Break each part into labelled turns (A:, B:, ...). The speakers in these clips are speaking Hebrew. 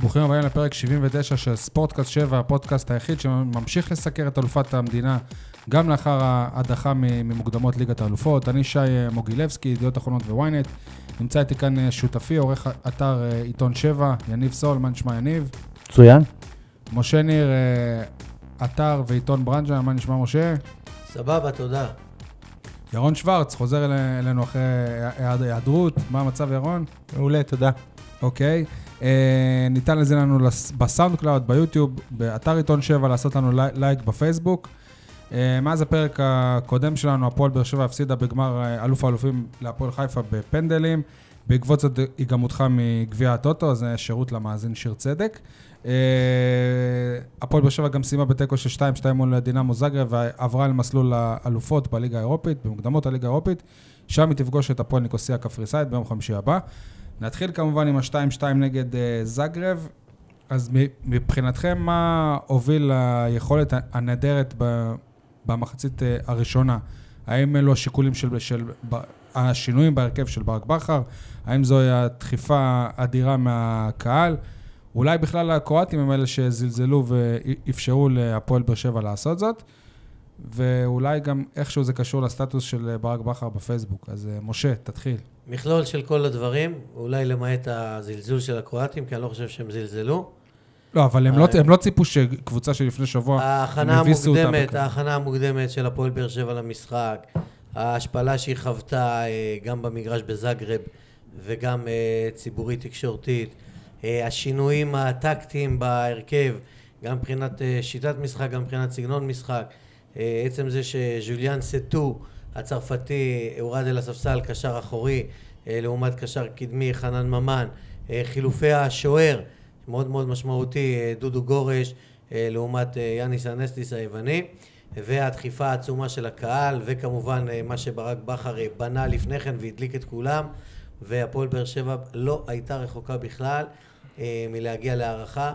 A: ברוכים הבאים לפרק 79 של ספורטקאסט 7, הפודקאסט היחיד שממשיך לסקר את אלופת המדינה גם לאחר ההדחה מ- ממוקדמות ליגת האלופות. אני שי אה, מוגילבסקי, ידיעות אחרונות וויינט. נמצא איתי כאן אה, שותפי, עורך אתר אה, עיתון 7, יניב סול, מה נשמע יניב?
B: מצוין.
A: משה ניר, אה, אתר ועיתון ברנז'ה, מה נשמע משה?
C: סבבה, תודה.
A: ירון שוורץ, חוזר אל- אלינו אחרי היעד- היעדרות, מה המצב ירון?
D: מעולה, תודה.
A: אוקיי. אה, ניתן לזה לנו לס- בסאונד קלאוד, ביוטיוב, באתר עיתון 7, לעשות לנו לי- לייק בפייסבוק. אה, מאז הפרק הקודם שלנו, הפועל באר שבע הפסידה בגמר אה, אלוף האלופים להפועל חיפה בפנדלים. בעקבות זאת היגמותך מגביע הטוטו, זה שירות למאזין שיר צדק. אה, הפועל באר שבע גם סיימה בתיקו של 2-2 מול דינמו זאגרב ועברה למסלול האלופות בליגה האירופית, במוקדמות הליגה האירופית. שם היא תפגוש את הפועל ניקוסיה הקפריסאית ביום חמישי הבא. נתחיל כמובן עם ה-2-2 נגד אה, זאגרב. אז מ- מבחינתכם, מה הוביל ליכולת הנהדרת ב- במחצית אה, הראשונה? האם אלו השיקולים של, של ב- השינויים בהרכב של ברק בכר? האם זוהי הדחיפה האדירה מהקהל? אולי בכלל הקרואטים הם אלה שזלזלו ואפשרו להפועל באר שבע לעשות זאת? ואולי גם איכשהו זה קשור לסטטוס של אה, ברק בכר בפייסבוק. אז אה, משה, תתחיל.
C: מכלול של כל הדברים, אולי למעט הזלזול של הקרואטים, כי אני לא חושב שהם זלזלו.
A: לא, אבל הם לא,
C: אה,
A: הם לא ציפו שקבוצה שלפני שבוע,
C: ההכנה
A: הם הביסו אותה
C: המוקדמת, אה,
A: בכ-
C: ההכנה המוקדמת של הפועל באר שבע למשחק, ההשפלה שהיא חוותה אה, גם במגרש בזאגרב וגם אה, ציבורית תקשורתית, אה, השינויים הטקטיים בהרכב, גם מבחינת אה, שיטת משחק, גם מבחינת סגנון משחק, אה, עצם זה שז'וליאן סטו הצרפתי הורד אל הספסל קשר אחורי אה, לעומת קשר קדמי חנן ממן, אה, חילופי השוער מאוד מאוד משמעותי, אה, דודו גורש אה, לעומת אה, יאניס אנסטיס היווני, והדחיפה העצומה של הקהל, וכמובן אה, מה שברק בכר אה, בנה לפני כן והדליק את כולם, והפועל באר שבע לא הייתה רחוקה בכלל אה, מלהגיע להערכה,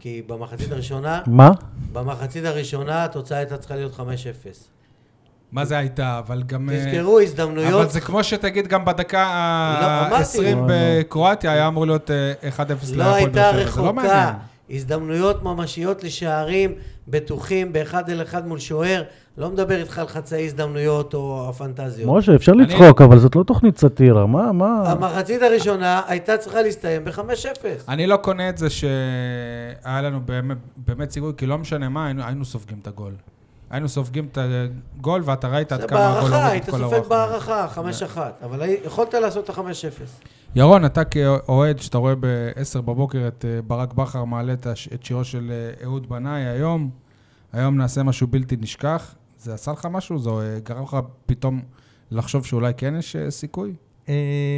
C: כי במחצית הראשונה,
B: מה?
C: במחצית הראשונה התוצאה הייתה צריכה להיות 5-0.
A: אה, מה זה הייתה, אבל גם... אה,
C: תזכרו הזדמנויות,
A: אבל זה כמו שתגיד גם בדקה
C: לא, אמרתי.
A: ה-20
B: לא, לא.
A: בקרואטיה, היה אמור להיות אה, 1-0
C: לא
A: להפועל
C: הייתה
A: באר שבע, זה לא מעניין.
C: רחוקה. הזדמנויות ממשיות לשערים בטוחים באחד אל אחד מול שוער. לא מדבר איתך על חצאי הזדמנויות או הפנטזיות.
B: משה, אפשר
A: אני-
B: לצחוק, אבל זאת לא תוכנית סאטירה, מה, מה?
C: המחצית הראשונה הייתה צריכה להסתיים ב-5-0.
A: אני לא קונה את זה שהיה לנו באמת- באמת סיכוי, כי לא משנה מה, היינו- היינו סופגים את הגול. היינו סופגים את הגול, ואתה ראית עד
C: זה
A: כמה הגול לא
C: בהערכה,
A: הוריד
C: היית
A: את כל
C: סופג
A: הרוח.
C: בהערכה, 5-1. אבל הי- יכולת לעשות את ה-5-0.
A: ירון, אתה כאוהד, שאתה רואה ב-10 בבוקר את אה, ברק בכר מעלה את הש- את שירו של אה, אהוד בנאי היום, היום נעשה משהו בלתי נשכח, זה עשה לך משהו? זה אה, גרם לך פתאום לחשוב שאולי כן יש אה, סיכוי?
D: אה,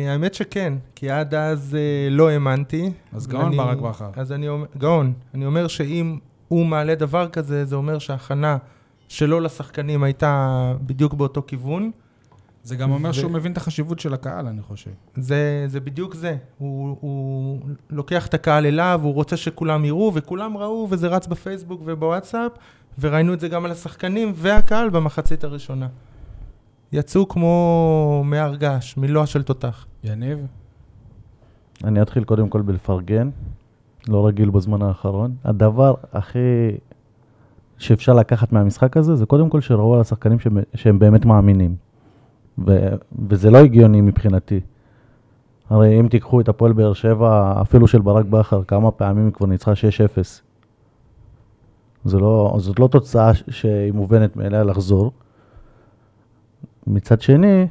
D: האמת שכן, כי עד אז אה, לא האמנתי.
A: אז גאון
D: אני-
A: ברק בכר.
D: אז אני אומר, גאון. אני אומר שאם הוא מעלה דבר כזה, זה אומר שההכנה שלו לשחקנים הייתה בדיוק באותו כיוון.
A: זה גם אומר
D: זה-
A: שהוא מבין את החשיבות של הקהל, אני חושב.
D: זה, זה בדיוק זה. הוא, הוא לוקח את הקהל אליו, הוא רוצה שכולם יראו, וכולם ראו, וזה רץ בפייסבוק ובוואטסאפ, וראינו את זה גם על השחקנים והקהל במחצית הראשונה. יצאו כמו מהר געש, מלוע של תותח.
A: יניב?
B: אני אתחיל קודם כל בלפרגן, לא רגיל בזמן האחרון. הדבר הכי שאפשר לקחת מהמשחק הזה, זה קודם כל שראו על השחקנים שהם, שהם באמת מאמינים. ו, וזה לא הגיוני מבחינתי. הרי אם תיקחו את הפועל באר שבע, אפילו של ברק בכר, כמה פעמים היא כבר ניצחה 6-0. זה לא, זאת לא תוצאה ש- שהיא מובנת מאליה לחזור. מצד שני,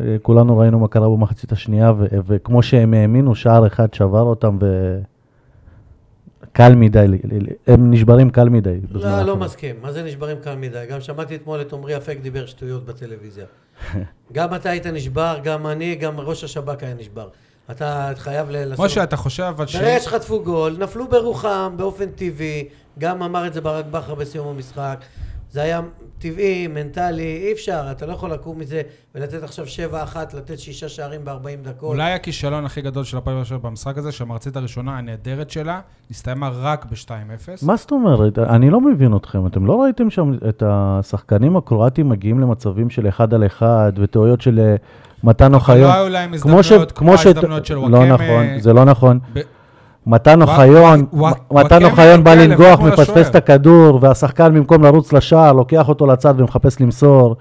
B: אה, כולנו ראינו מה קרה במחצית השנייה, ו- וכמו שהם האמינו, שער אחד שבר אותם, ו... קל מדי, ל- ל- ל- הם נשברים קל מדי. בזמן
C: לא, לא
B: האחרון.
C: מסכים. מה זה נשברים קל מדי? גם שמעתי אתמול את עמרי אפק דיבר שטויות בטלוויזיה. גם אתה היית נשבר, גם אני, גם ראש השב"כ היה נשבר. אתה חייב ל- לעשות...
A: משה, אתה חושב אבל ש...
C: ברגע שחטפו גול, נפלו ברוחם באופן טבעי, גם אמר את זה ברק בכר בסיום המשחק. זה היה טבעי, מנטלי, אי אפשר, אתה לא יכול לקום מזה ולתת עכשיו 7-1, לתת שישה שערים ב-40 דקות.
A: אולי הכישלון הכי גדול של הפועל באר שבע במשחק הזה, שהמחצית הראשונה הנהדרת שלה, הסתיימה רק ב-2-0.
B: מה זאת אומרת? אני לא מבין אתכם. אתם לא ראיתם שם את השחקנים הקרואטים מגיעים למצבים של אחד על אחד, וטעויות של אה, מתן
A: אבל
B: אוחיון?
A: לא היו להם
B: כמו ש-
A: הזדמנויות, כמו
B: כמו ש-
A: ההזדמנויות של
B: לא
A: וואקמה.
B: נכון, זה לא נכון.
A: ב-
B: מתן אוחיון,
A: וואק-
B: מתן
A: וואקמה
B: אוחיון בא
A: מגיע
B: לנגוח,
A: לבחור לשוער.
B: מפספס את הכדור, והשחקן במקום לרוץ לשער, לוקח אותו לצד ומחפש למסור,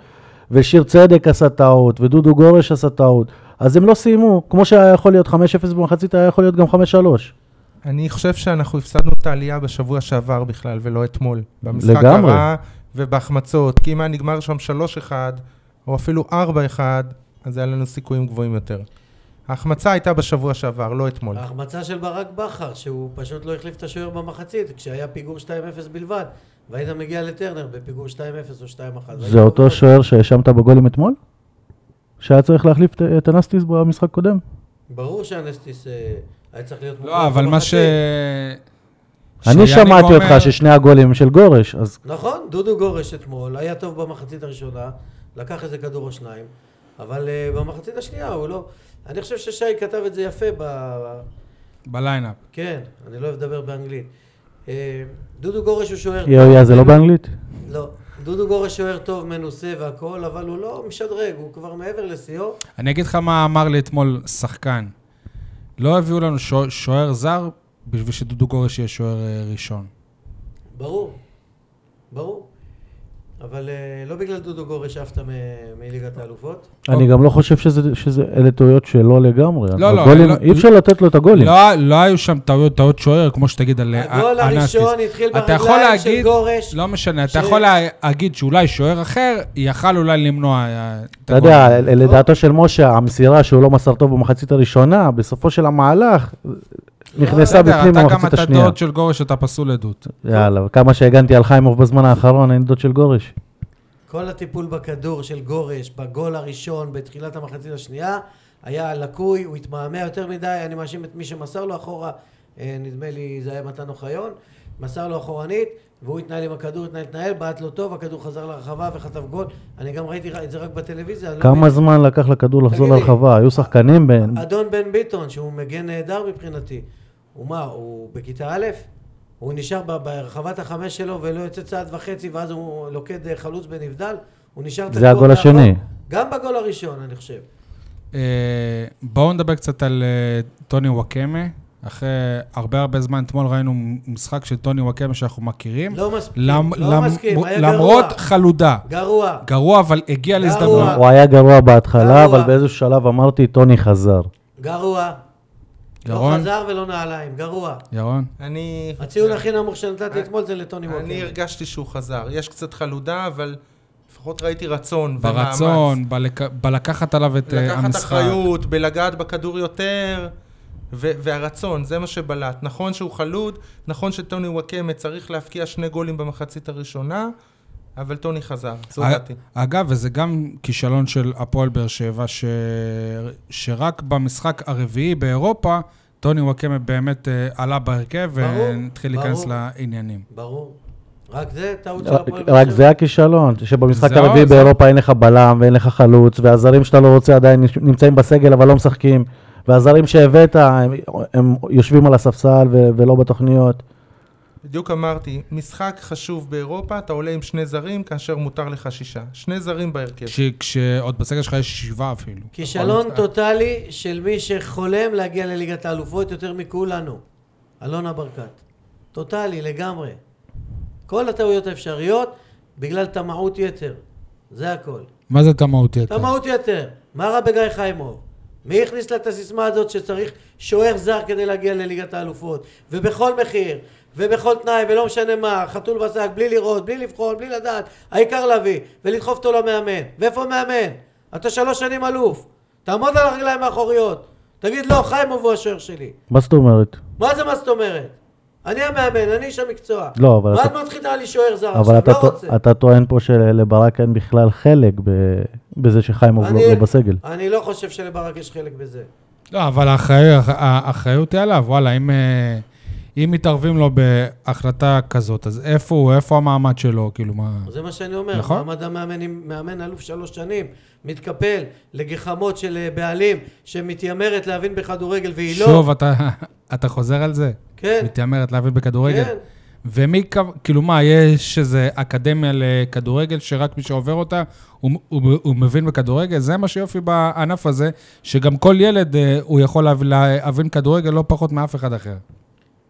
B: ושיר צדק עשה טעות, ודודו גורש עשה טעות, אז הם לא סיימו, כמו שהיה יכול להיות 5-0 במחצית, היה יכול להיות גם 5-3.
D: אני חושב שאנחנו הפסדנו את העלייה בשבוע שעבר בכלל, ולא אתמול. במשחק
B: לגמרי.
D: הרע ובהחמצות. כי אם היה נגמר שם 3-1, או אפילו 4-1, אז היה לנו סיכויים גבוהים יותר. ההחמצה הייתה בשבוע שעבר, לא אתמול.
C: ההחמצה של ברק בכר, שהוא פשוט לא החליף את השוער במחצית, כשהיה פיגור 2-0 בלבד, והיית מגיע לטרנר בפיגור 2-0 או 2-1.
B: זה אותו שוער שהאשמת בגולים אתמול? שהיה צריך להחליף את- את אנסטיס במשחק קודם?
C: ברור שאנסטיס אה, היה צריך להיות מוכן
A: לא, אבל מה ש...
C: במחצית.
B: אני
A: שיניב
B: שמעתי
A: אומר-
B: אותך ששני הגולים של גורש, אז
C: נכון, דודו גורש אתמול, היה טוב במחצית הראשונה, לקח איזה כדור או שניים, אבל אה, במחצית השנייה הוא לא... אני חושב ששי כתב את זה יפה ב...
A: בליינאפ.
C: כן, אני לא אוהב לדבר באנגלית. אה, דודו גורש הוא
A: אה,
C: שוער... טוב,
B: יואיה זה לא
C: מנוסה-
B: באנגלית?
C: לא. דודו גורש שוער טוב, מנוסה והכול, אבל הוא לא משדרג, הוא כבר מעבר לשיאו.
A: אני אגיד לך מה אמר לי אתמול שחקן. לא הביאו לנו שוע- שוער זר בשביל שדודו גורש יהיה שוער אה, ראשון.
C: ברור, ברור. אבל אה, לא בגלל דודו גורש עפת מ- מליגת האלופות.
B: אני גם לא חושב שזה, שזה, אלה טעויות שלא לגמרי.
A: אה. לא, לא,
B: הגולים,
A: לא-
B: אי אפשר לתת לו את הגולים.
A: לא, לא היו שם טעויות, טעות שוער, כמו שתגיד על אה,
C: הגול
A: אנסטיס.
C: הראשון התחיל
A: אתה יכול
C: ברגליים של
A: להגיד-
C: גורש.
A: לא משנה,
C: ש-
A: אתה יכול לה- להגיד שאולי שוער אחר יכל אולי למנוע אה, את
B: אתה יודע,
A: הגול.
B: ל- לדעתו של משה, המסירה שהוא לא מסר טוב במחצית הראשונה, בסופו של המהלך, נכנסה
A: בסדר,
B: בפנים
A: לא, אתה גם
B: במחצית
A: אתה
B: השנייה.
A: דוד של גורש, אתה פסול עדות.
B: יאללה, כמה שהגנתי על חיימוב בזמן האחרון, אין דוד של גורש.
C: כל הטיפול בכדור של גורש, בגול הראשון, בתחילת המחצית השנייה, היה לקוי, הוא התמהמה יותר מדי, אני מאשים את מי שמסר לו אחורה, אה, נדמה לי זה היה מתן אוחיון, מסר לו אחורנית, והוא התנהל עם הכדור, התנהל, התנהל, בעט לא טוב, הכדור חזר לרחבה וחטף גול, אני גם ראיתי את זה רק בטלוויזיה. אני לא
B: כמה
C: מבין.
B: זמן לקח לכדור לחזור
C: תגיד לי,
B: לרחבה? היו שחקנים בין...
C: אדון בן ביטון, שהוא מגן נהדר מבחינתי, הוא מה, הוא בכיתה א'? הוא נשאר ב- ברחבת החמש שלו ולא יוצא צעד וחצי ואז הוא לוקד אה, חלוץ בנבדל? הוא נשאר...
B: זה
C: תקוע
B: הגול
C: מאחור.
B: השני.
C: גם בגול הראשון, אני חושב.
A: אה, בואו נדבר קצת על אה, טוני וואקמה. אחרי הרבה הרבה זמן, אתמול ראינו משחק של טוני וואקמה שאנחנו מכירים.
C: לא מסכים,
A: למ-
C: לא
A: למ-
C: מסכים, היה גרוע.
A: למרות חלודה.
C: גרוע.
A: גרוע, אבל הגיע
C: גרוע. לא
A: להזדמנות.
B: הוא היה גרוע
C: גרוע.
B: בהתחלה, אבל באיזשהו שלב אמרתי, טוני חזר.
C: גרוע. לא
A: ירון?
C: חזר ולא נעליים, גרוע.
A: ירון?
D: אני...
A: אה.
C: הציון הכי כן. נמוך שנתתי אתמול זה לטוני ווקר.
D: אני הרגשתי שהוא חזר. יש קצת חלודה, אבל לפחות ראיתי רצון ומאמץ.
A: ברצון, בלק... בלקחת עליו את אה,
D: לקחת
A: המשחק.
D: אחריות, בלגעת בכדור יותר, ו- והרצון, זה מה שבלט. נכון שהוא חלוד, נכון שטוני וואקמה צריך להבקיע שני גולים במחצית הראשונה, אבל טוני חזר, זו
A: אה,
D: דעתי.
A: אגב, וזה גם כישלון של הפועל באר שבע, ש... שרק במשחק הרביעי באירופה, טוני וואקמה באמת אה, עלה בהרכב
C: ברור,
A: והתחיל להיכנס
C: ברור.
A: לעניינים.
C: ברור. רק זה טעות של הפועל באר
B: רק
C: שבע.
B: זה הכישלון, שבמשחק
A: זה-
B: הרביעי
A: זה-
B: באירופה אין לך בלם ואין לך חלוץ, והזרים שאתה לא רוצה עדיין נמצאים בסגל אבל לא משחקים, והזרים שהבאת הם, הם יושבים על הספסל ו- ולא בתוכניות.
D: בדיוק אמרתי, משחק חשוב באירופה, אתה עולה עם שני זרים כאשר מותר לך שישה. שני זרים בהרכב.
C: כן.
A: כש... כשעוד בסגל שלך יש שבעה אפילו.
C: כישלון טוטאלי של מי שחולם להגיע לליגת האלופות יותר מכולנו. אלונה ברקת. טוטאלי לגמרי. כל הטעויות האפשריות בגלל טמעות יתר. זה הכל.
A: מה זה טמאות יתר?
C: טמעות יתר. מה רע בגיא חיימוב? מי הכניס לה את הסיסמה הזאת שצריך שוער זר כדי להגיע לליגת האלופות? ובכל מחיר, ובכל תנאי, ולא משנה מה, חתול בשק, בלי לראות, בלי לבחון, בלי לדעת, העיקר להביא, ולדחוף אותו למאמן. ואיפה המאמן? אתה שלוש שנים אלוף. תעמוד על הרגליים האחוריות. תגיד, לא, חיימוב הוא השוער שלי.
B: מה זאת אומרת?
C: מה זה מה זאת אומרת? אני המאמן, אני איש המקצוע.
B: לא, אבל
C: מה
B: אתה-
C: את מתחילה לי שוער זר
B: אבל
C: עכשיו?
B: אתה,
C: לא
B: טוע-
C: רוצה.
B: אתה טוען פה שלברק אין בכלל חלק ב- בזה שחיימוב לא,
C: אני-
B: לא בסגל.
C: אני לא חושב שלברק יש חלק בזה.
A: לא, אבל האחריות, האחריות היא עליו, וואלה, אם, אה, אם מתערבים לו בהחלטה כזאת, אז איפה הוא, איפה המעמד שלו, כאילו, מה...
C: זה מה שאני אומר.
A: נכון.
C: נכון. מעמד המאמן, עם- מאמן אלוף שלוש שנים, מתקפל לגחמות של אה, בעלים שמתיימרת להבין בכדורגל והיא לא.
A: שוב, אתה, אתה חוזר על זה?
C: כן.
A: מתיימרת להבין בכדורגל?
C: כן.
A: ומי קבע, כאילו מה, יש איזה אקדמיה לכדורגל שרק מי שעובר אותה, הוא, הוא, הוא מבין בכדורגל? זה מה שיופי בענף הזה, שגם כל ילד, אה, הוא יכול להבין, להבין כדורגל לא פחות מאף אחד אחר.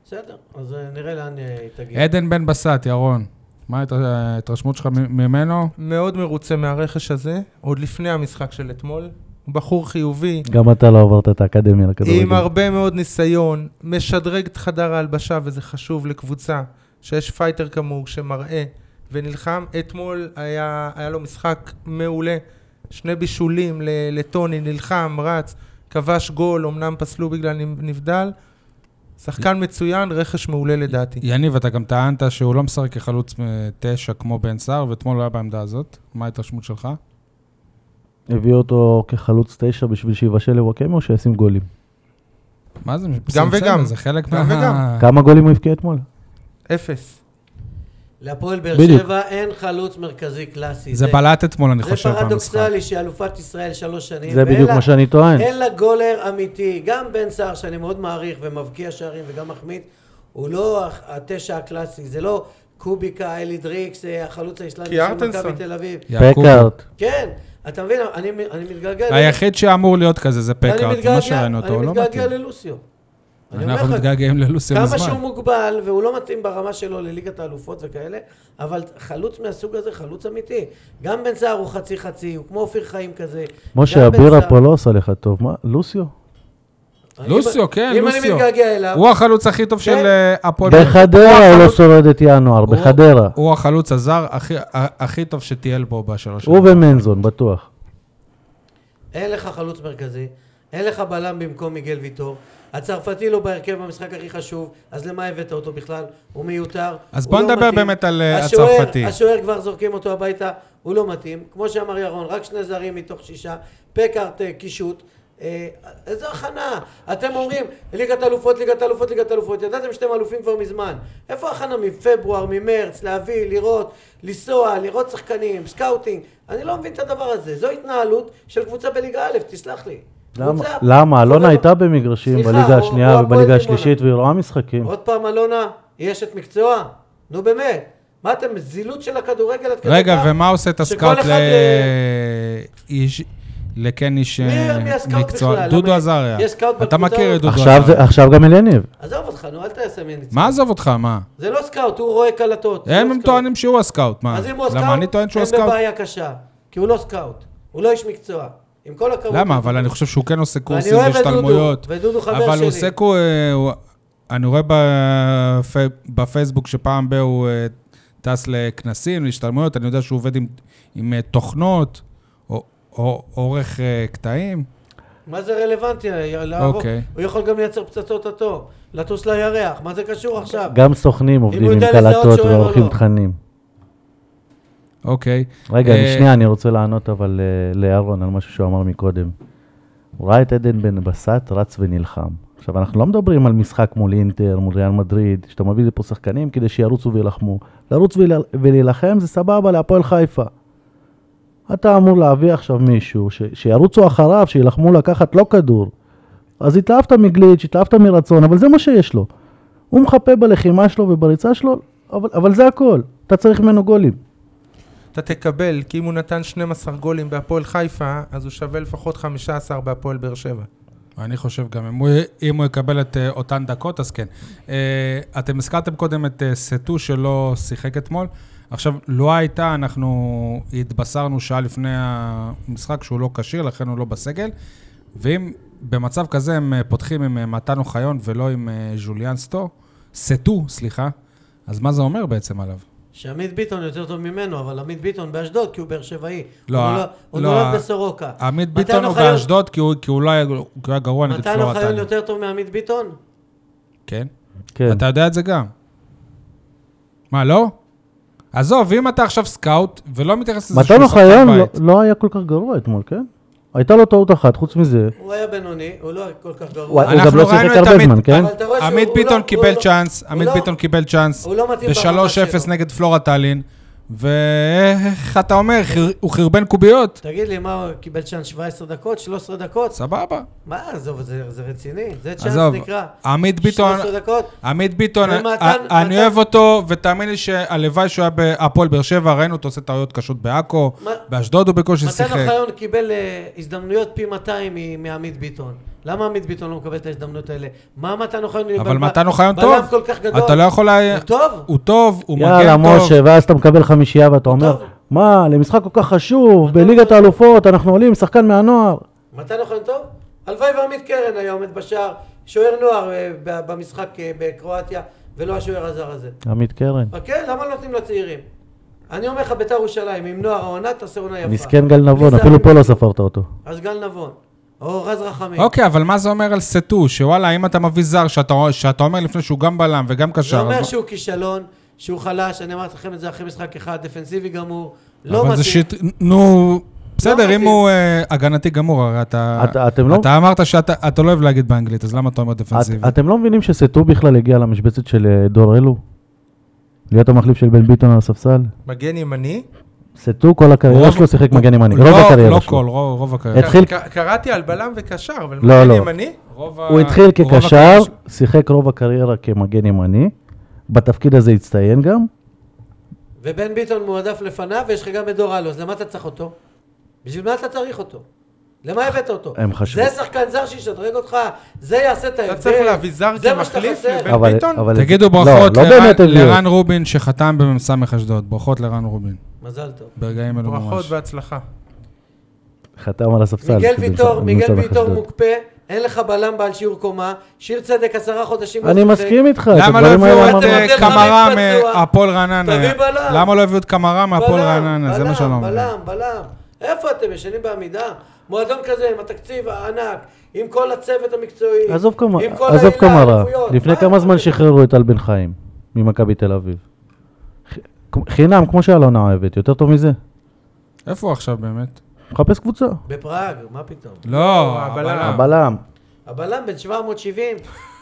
C: בסדר, אז אה, נראה לאן אה, היא תגיע.
A: עדן בן בסט, ירון, מה ההת- ההתרשמות שלך מ- ממנו?
D: מאוד מרוצה מהרכש הזה, עוד לפני המשחק של אתמול. הוא בחור חיובי,
B: גם אתה לא עברת את האקדמיה
D: עם
B: לכדורגל.
D: הרבה מאוד ניסיון, משדרג את חדר ההלבשה, וזה חשוב לקבוצה שיש פייטר כמוהו שמראה ונלחם. אתמול היה, היה לו משחק מעולה, שני בישולים ל- לטוני, נלחם, רץ, כבש גול, אמנם פסלו בגלל נבדל. שחקן מצוין, רכש מעולה לדעתי.
A: יניב, אתה גם טענת שהוא לא משחק כחלוץ אה, תשע כמו בן סער, ואתמול הוא היה בעמדה הזאת. מה ההתרשמות שלך?
B: הביא אותו כחלוץ תשע בשביל שיבשל לוואקמה או שישים גולים?
A: מה זה?
D: גם
A: בסדר,
D: וגם.
A: זה חלק
D: גם
A: מה...
B: כמה גולים הוא הבקיע אתמול?
D: אפס.
C: להפועל באר
B: בדיוק.
C: שבע אין חלוץ מרכזי קלאסי.
A: זה בלט אתמול, אני חושב,
C: זה
A: במשחק.
C: פרדוקסלי שאלופת ישראל שלוש שנים.
B: זה
C: ואין
B: בדיוק
C: לה-
B: מה שאני טוען.
C: אין לה גולר אמיתי. גם בן סער, שאני מאוד מעריך ומבקיע שערים וגם מחמיץ, הוא לא הח- התשע הקלאסי. זה לא קוביקה, אלי דריקס, אה, החלוץ האיסלאמי של מכבי
D: קיארטנסון.
C: תל אביב.
A: יעקוב.
B: פקארט.
C: כן, אתה מבין? אני אני מתגלגל...
A: היחיד שאמור להיות כזה זה
C: אני
A: פקארט, זה
C: מתגעגע-
A: מה שראינו אותו, הוא לא
C: אני מתגעגע
A: מתאים.
C: ללוסיו. אני אומר
A: אנחנו
C: לך,
A: מתגעגעים ללוסיו
C: כמה שהוא
A: מזמן.
C: מוגבל, והוא לא מתאים ברמה שלו לליגת האלופות וכאלה, אבל חלוץ מהסוג הזה, חלוץ אמיתי. גם בן סער הוא חצי חצי, הוא כמו אופיר חיים כזה.
B: משה,
C: גם בן
B: הבירה
C: סער-
B: פה לא עושה לך טוב. מה? לוסיו?
C: אני-
A: לוסיו, כן,
C: אם אני
A: לוסיו.
C: מתגעגע אליו,
A: הוא החלוץ הכי טוב
C: כן.
A: של אה, הפועל.
B: בחדרה הוא לא שורד את ינואר,
A: הוא-
B: בחדרה.
A: הוא החלוץ הזר הכי- הכי טוב שטייל בו בשלוש
B: הוא
A: שנים.
B: ומנזון, בטוח.
C: אין לך חלוץ מרכזי, אין לך בלם במקום מיגל ויטור. הצרפתי לא בהרכב במשחק הכי חשוב, אז למה הבאת אותו בכלל? הוא מיותר.
A: אז
C: הוא
A: בוא
C: לא
A: נדבר
C: מתאים.
A: באמת על, אה,
C: השוער-
A: הצרפתי.
C: השוער כבר זורקים אותו הביתה, הוא לא מתאים. כמו שאמר ירון, רק שני זרים מתוך שישה. פקארט אה, קישוט. אה, איזו הכנה. אתם אומרים, ליגת אלופות, ליגת אלופות, ליגת אלופות. ידעתם שאתם אלופים כבר מזמן. איפה הכנה מפברואר, ממרץ, להביא, לראות, לנסוע, לראות שחקנים, סקאוטינג? אני לא מבין את הדבר הזה. זו התנהלות של קבוצה בליגה א', תסלח לי.
B: למה?
C: קבוצה-
B: למה? אלונה
C: קבוצה-
B: הייתה במגרשים
C: סליחה,
B: בליגה
C: הוא- הוא
B: השנייה
C: הפועל
B: ובליגה
C: דימונה.
B: השלישית והיא רואה משחקים.
C: עוד פעם אלונה, היא אשת מקצוע? נו באמת. מה אתם, זילות של הכדורגל עד כדי
A: רגע,
C: כך?
A: ומה עושה את
C: שכל
A: הסקאוט
C: אחד
A: ל...
C: ל-
A: איש... לכן איש
C: מי- מי
A: אה,
C: הסקאוט
A: מקצוע?
C: בכלל?
A: דודו
C: למה-
A: עזריה.
C: יש סקאוט
A: אתה
C: בקבוצה
A: מכיר את
C: הזאת?
A: דודו
B: עכשיו זה-
A: עזריה.
B: עכשיו גם אליניב.
C: עזוב אותך, נו, אל תעשה מי ניצחון.
A: מה עזוב אותך, מה?
C: זה לא סקאוט, הוא רואה קלטות. זה לא
A: הם הם
C: סקאוט.
A: טוענים שהוא הסקאוט, מה?
C: אז אם הוא הסקאוט,
A: למה אני טוען שהוא
C: הם
A: הסקאוט?
C: בבעיה קשה. כי הוא לא סקאוט. הוא לא איש מקצוע. עם כל הכבוד.
A: למה? אבל אני חושב שהוא כן עושה קורסים
C: אוהב את דודו,
A: והשתלמויות.
C: ודודו חבר
A: אבל הוא
C: שלי.
A: עושה קו... אה, הוא- אני רואה בפי- בפייסבוק שפעם ב... הוא אה, טס לכנסים, להשתלמויות, אני יודע שהוא עובד עם- עם אה, תוכנות, או- או עורך אה, קטעים.
C: מה זה רלוונטי? י- לערוק.
A: אוקיי.
C: הוא יכול גם לייצר פצצות אטום. לטוס לירח. מה זה קשור עכשיו?
B: גם סוכנים עובדים
C: הוא
B: עם
C: יודע לזהות
B: קלטות
C: שוער או
B: ועורכים
C: לא.
B: תכנים.
A: אוקיי.
B: רגע,
A: אה,
B: שנייה, אני רוצה לענות אבל אה, לאהרון על משהו שהוא אמר מקודם. הוא ראה את עדן בן בסט, רץ ונלחם. עכשיו, אנחנו לא מדברים על משחק מול אינטר, מול ריאל מדריד, שאתה מביא לפה שחקנים כדי שירוצו וילחמו. לרוץ ולל- ולהילחם זה סבבה להפועל חיפה. אתה אמור להביא עכשיו מישהו ש... שירוצו אחריו, שילחמו לקחת לא כדור. אז התלהבת מגליץ', התלהבת מרצון, אבל זה מה שיש לו. הוא מחפה בלחימה שלו ובריצה שלו, אבל, אבל זה הכל. אתה צריך ממנו גולים.
D: אתה תקבל, כי אם הוא נתן 12 גולים בהפועל חיפה, אז הוא שווה לפחות 15 בהפועל באר שבע.
A: אני חושב גם, אם הוא, אם הוא יקבל את אה, אותן דקות, אז כן. אה, אתם הזכרתם קודם את אה, סטו שלא שיחק אתמול. עכשיו, לא הייתה, אנחנו התבשרנו שעה לפני המשחק שהוא לא כשיר, לכן הוא לא בסגל. ואם במצב כזה הם אה, פותחים עם אה, מתן אוחיון ולא עם אה, ז'וליאן סטו, סטו, סליחה, אז מה זה אומר בעצם עליו?
C: שעמית ביטון יותר טוב ממנו, אבל עמית ביטון באשדוד, כי הוא באר שבעי.
A: לא,
C: הוא נולד- הוא
A: לא,
C: נולד
A: ה-
C: בסורוקה.
A: עמית
C: מתן
A: ביטון הוא
C: אוחיון-
A: באשדוד כי הוא, כי הוא לא היה, כי הוא היה גרוע נגד
C: מתן אוחיון
A: פלורטן.
C: לא יותר טוב מעמית ביטון?
A: כן?
B: כן.
A: אתה יודע את זה גם. מה, לא? עזוב, אם אתה עכשיו סקאוט ולא מתייחס לזה
B: מתן
A: שהוא
B: אוחיון
A: שחקן
B: לא-
A: בית,
B: לא היה כל כך גרוע אתמול, כן? הייתה לו טעות אחת, חוץ מזה.
C: הוא היה בינוני, הוא לא היה כל כך
B: הוא
C: גרוע.
B: הוא
A: אנחנו
B: גם לא
A: ראינו
B: שיחק
A: את
B: הרבה
A: עמית-
B: זמן, כן?
C: אבל אתה רואה שהוא-
A: עמית
C: הוא
A: ביטון
C: לא-
A: קיבל
C: הוא לא-
A: צ'אנס,
C: הוא
A: עמית
C: לא-
A: ביטון קיבל צ'אנס,
C: הוא לא מתאים ברמה
A: ב-3-0
C: שלו.
A: נגד פלורה טאלין, ואיך אתה אומר, חיר- הוא חרבן קוביות,
C: תגיד לי, מה, הוא קיבל צ'אנס 17 דקות? 13 דקות?
A: סבבה.
C: מה, עזוב, זה זה רציני? זה
A: עזוב,
C: צ'אנס נקרא.
A: עמית ביטון-
C: 13 דקות?
A: עמית ביטון,
C: ומתן-
A: א- אני
C: מתן-
A: אוהב אותו, ותאמין לי שהלוואי שהוא היה בהפועל באר שבע, ראינו אותו עושה טעויות קשות בעכו,
C: מה-
A: באשדוד הוא בקושי
C: מתן
A: שיחק.
C: אוחיון קיבל אה, הזדמנויות פי 200 מ- מעמית ביטון. למה עמית ביטון לא מקבל את ההזדמנויות האלה? מה מתן אוחיון?
A: אבל
C: ב-
A: מתן אוחיון
C: בלם
A: טוב.
C: כל כך גדול.
A: אתה לא יכול... לה-
C: הוא טוב?
A: הוא טוב, הוא מגן טוב.
B: יאללה, משה, ואז אתה מקבל חמישייה ואתה
C: טוב.
B: אומר, מה, למשחק כל כך חשוב,
C: אתה
B: בליגת
C: אומר-
B: האלופות, אנחנו עולים, שחקן מהנוער.
C: מתן אוחיון טוב? הלוואי ועמית קרן היה עומד בשער, שוער נוער אה, ב- במשחק אה, בקרואטיה, ולא השוער הזר הזה.
B: עמית קרן.
C: אה, כן? למה לא נותנים לצעירים? אני אומר לך, ביתר ירושלים, עם נוער העונה תעשה עונה יפה.
B: מסכן גל נבון,
C: בלי
B: אפילו
C: זרים.
B: פה לא ספרת אותו.
C: אז גל נבון, או רז רחמים.
A: אוקיי, אבל מה זה אומר על סטו? שוואלה, אם אתה מביא זר, שאתה, שאתה אומר לפני שהוא גם בלם וגם קשר,
C: זה אומר
A: אז
C: שהוא כישלון, שהוא חלש, אני אמרתי לכם את זה אחרי משחק אחד, דפנסיבי גמור,
A: מה-
C: לא
A: אבל זה
C: מתאים. לא
A: שיט... נו, בסדר, אם
C: מתאים.
A: הוא אה, הגנתי גמור, הרי אתה...
B: אתה- אתם לא-
A: אתה אמרת שאתה אתה לא אוהב להגיד באנגלית, אז למה אתה אומר דפנסיבי?
B: את- אתם לא מבינים שסטו בכלל הגיע למשבצת של אה, דור אלו? להיות המחליף של בן ביטון על הספסל?
D: מגן ימני?
B: סטו כל הקריירה
A: רוב-
B: שלו שיחק מגן ימני,
A: לא-
B: רוב
A: לא
B: הקריירה
A: כל,
B: שלו.
A: רוב רוב הקריירה.
B: התחיל-
D: ק- כן, ק- קראתי על בלם וקשר, אבל
B: לא,
D: מגן
B: לא.
D: ימני?
A: רוב ה-
B: הוא התחיל
A: רוב
B: כקשר,
A: הקריירה שלו.
B: שיחק רוב הקריירה כמגן ימני, בתפקיד הזה הצטיין גם.
C: ובן ביטון מועדף לפניו, ויש לך גם את דור אלו, אז למה אתה צריך אותו? בשביל מה אתה צריך אותו? למה הבאת אותו?
B: הם חשבו.
C: זה שחקן זר שישדרג אותך, זה יעשה את ההבדל.
D: צריך להביא זר
C: זה מה שאתה
D: כמחליף
C: חסר.
D: לבן-
B: אבל-
D: ביטון?
B: אבל-
A: תגידו
B: לא,
A: ברכות
B: לא
A: לרן-
B: באמת הביאו.
A: לרן רובין שחתם במ"ס אשדוד. ברכות לרן רובין.
C: מזל טוב.
A: ברגעים
B: לא
A: אלו
D: ברכות
A: ממש.
D: והצלחה.
B: חתם על הספסל.
C: מיגל
B: כאילו,
C: ויטור,
B: במשחק
C: מיגל
B: אשדוד.
C: ויטור מוקפא, אין לך בלם בעל שיעור קומה, שיר צדק עשרה חודשים. לא
B: אני
C: שיחק.
B: מסכים איתך, את
A: למה לא
B: הדברים האלה
A: הביאו את
B: אמרנו.
A: אה, קמרה
C: אמרנו. תביא פצוע.
A: מהפועל רעננה?
C: תביא בלם.
A: למה לא הביאו את קמרה מהפועל
C: בלם,
A: רעננה? זה מה שאני לא
C: בלם,
A: מבין.
C: בלם, בלם. איפה אתם ישנים בעמידה? מועדון כזה עם התקציב הענק, עם כל הצוות
A: אה,
C: המקצועי.
B: עזוב כמה-
C: עם כל
B: עזוב
C: העילה,
B: כמה רע.
C: האליפויות.
B: לפני
C: מה
B: כמה
C: אתם
B: זמן
C: עושים?
B: שחררו את טל בן חיים ממכבי תל אביב? ח- חינם, כמו שאלונה אוהבת, יותר טוב מזה?
A: איפה הוא עכשיו באמת?
B: מחפש קבוצה.
C: בפראג, מה פתאום?
A: לא,
D: הבלם.
A: הבלם.
B: הבלם.
C: הבלם בן 770.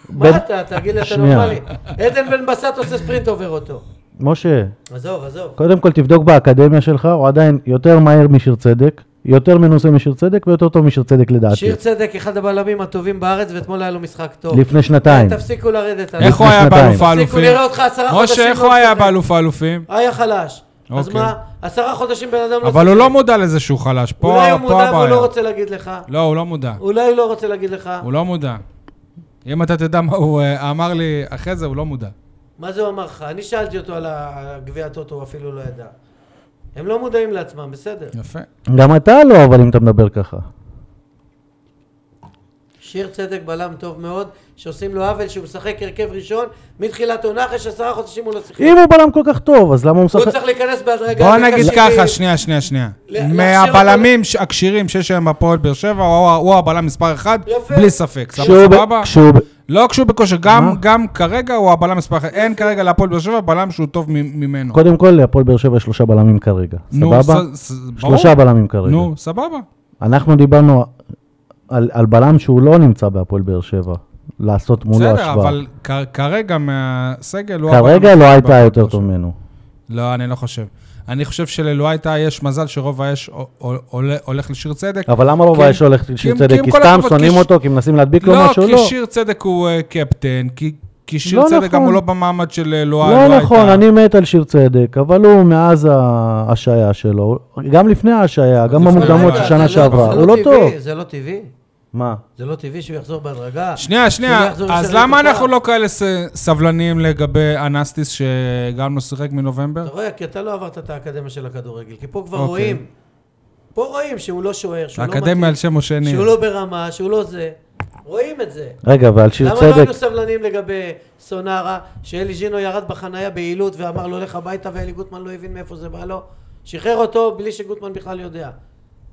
B: בן-
C: מה אתה, תגיד לי, אתה
B: שנייה.
C: נורמלי. עדן בן בסט עושה ספרינט עובר אותו.
B: משה,
C: עזוב, עזוב.
B: קודם כל תבדוק באקדמיה שלך, הוא עדיין יותר מהר משיר צדק, יותר מנוסה משיר צדק ויותר טוב משיר צדק לדעתי.
C: שיר צדק, אחד הבלמים הטובים בארץ, ואתמול היה לו משחק טוב.
B: לפני שנתיים.
C: תפסיקו לרדת עליו.
A: איך הוא היה
B: לפני
A: באלוף
B: שנתיים.
A: האלופים?
C: תפסיקו לראות אותך עשרה חודשים
A: משה, איך
C: לא
A: הוא היה
C: משחק.
A: באלוף האלופים?
C: היה חלש. אז
A: אוקיי.
C: מה, עשרה חודשים בן אדם לא...
A: אבל הוא
C: שיחק.
A: לא מודע לזה שהוא חלש. פה
C: אולי הוא
A: פה
C: מודע והוא
A: הבעיה.
C: לא רוצה להגיד לך.
A: לא, הוא לא מודע.
C: אולי הוא לא רוצה להגיד לך.
A: הוא לא מודע. אם אתה תדע מה הוא אה, אמר לי אחרי זה, הוא לא מודע.
C: מה זה הוא אמר לך? אני שאלתי אותו על ה- על גביע הטוטו, הוא אפילו לא ידע. הם לא מודעים לעצמם, בסדר.
A: יפה.
B: גם אתה לא, אבל אם אתה מדבר ככה.
C: שיר צדק בלם טוב מאוד, שעושים לו עוול שהוא משחק הרכב ראשון מתחילת עונה אחרי שעשרה חודשים הוא לא שיחק.
B: אם הוא בלם כל כך טוב, אז למה הוא
C: הוא
B: משחק?
C: לא צריך להיכנס בהדרגה.
A: בוא
C: לקשר
A: נגיד
C: עם-
A: ככה, שנייה, שנייה, שנייה.
C: ל- להכשיר
A: מהבלמים ש- הכשירים שיש היום בהפועל באר שבע, הוא ה- הוא הבלם מספר אחת,
C: יפה.
A: בלי ספק. סבבה,
B: כשהוא ב-
A: סבבה?
B: כשהוא ב-
A: לא כשהוא בכושר, גם-
B: מה?
A: גם כרגע הוא הבלם מספר אחת. אין כרגע להפועל באר שבע בלם שהוא טוב מ- ממנו.
B: קודם כל, להפועל באר שבע יש שלושה בלמים כרגע.
A: נו,
B: סבבה?
A: ס- ס- ברור.
B: שלושה בלמים כרגע.
A: נו, סבבה.
B: אנחנו דיברנו על, על בלם שהוא לא נמצא בהפועל באר שבע, לעשות מולו
A: בסדר,
B: השוואה.
A: אבל כ- כרגע מהסגל הוא... הבלם
B: כרגע
A: הכי
B: לא
A: טוב
B: הייתה
A: בהפועל
B: יותר
A: באר
B: טוב
A: שבע.
B: ממנו.
A: לא, אני לא חושב. אני חושב שללואייטה יש מזל שרוב האש הו- הו- הול- הולך לשיר צדק.
B: אבל למה לא רוב
A: כי-
B: האש הולך
A: כי-
B: לשיר
A: כי
B: צדק?
A: עם
B: כי
A: כל
B: סתם
A: הכבוד,
B: שונאים
A: כי ש-
B: אותו, כי מנסים להדביק לו
A: לא,
B: משהו?
A: כי
B: לא.
A: שיר צדק הוא אה, קפטן, כי- כי שיר
B: לא
A: צדק גם
B: נכון.
A: הוא לא במעמד של אה, לואי- לואייטה.
B: לא נכון, אני מת על שיר צדק, אבל הוא מאז ההשעיה שלו, גם לפני ההשעיה, גם
A: לפני
B: במוקדמות של
A: ההשעיה.
B: שנה
C: זה לא-
B: שעברה,
C: זה
B: הוא לא
C: טבעי,
B: טוב.
C: זה לא טבעי.
B: מה?
C: זה לא טבעי שהוא יחזור בהדרגה.
A: שנייה,
C: שהוא
A: שנייה,
C: יחזור
A: אז
C: לשחק
A: למה
C: אותו.
A: אנחנו לא כאלה ס- סבלניים לגבי אנסטיס שגם לא שיחק מנובמבר?
C: אתה רואה, כי אתה לא עברת את האקדמיה של הכדורגל, כי פה כבר
A: אוקיי.
C: רואים. פה רואים שהוא לא שוער, שהוא לא
A: האקדמיה על שם משה ניר.
C: שהוא לא ברמה, שהוא לא זה. רואים את זה.
B: רגע, ועל שיר
C: למה לא
B: צדק,
C: היינו סבלנים לגבי סונארה, שאלי ז'ינו ירד בחנייה באילוט ואמר לו לך הביתה ואלי גוטמן לא הבין מאיפה זה בא לו? שחרר אותו בלי שגוטמן בכלל יודע.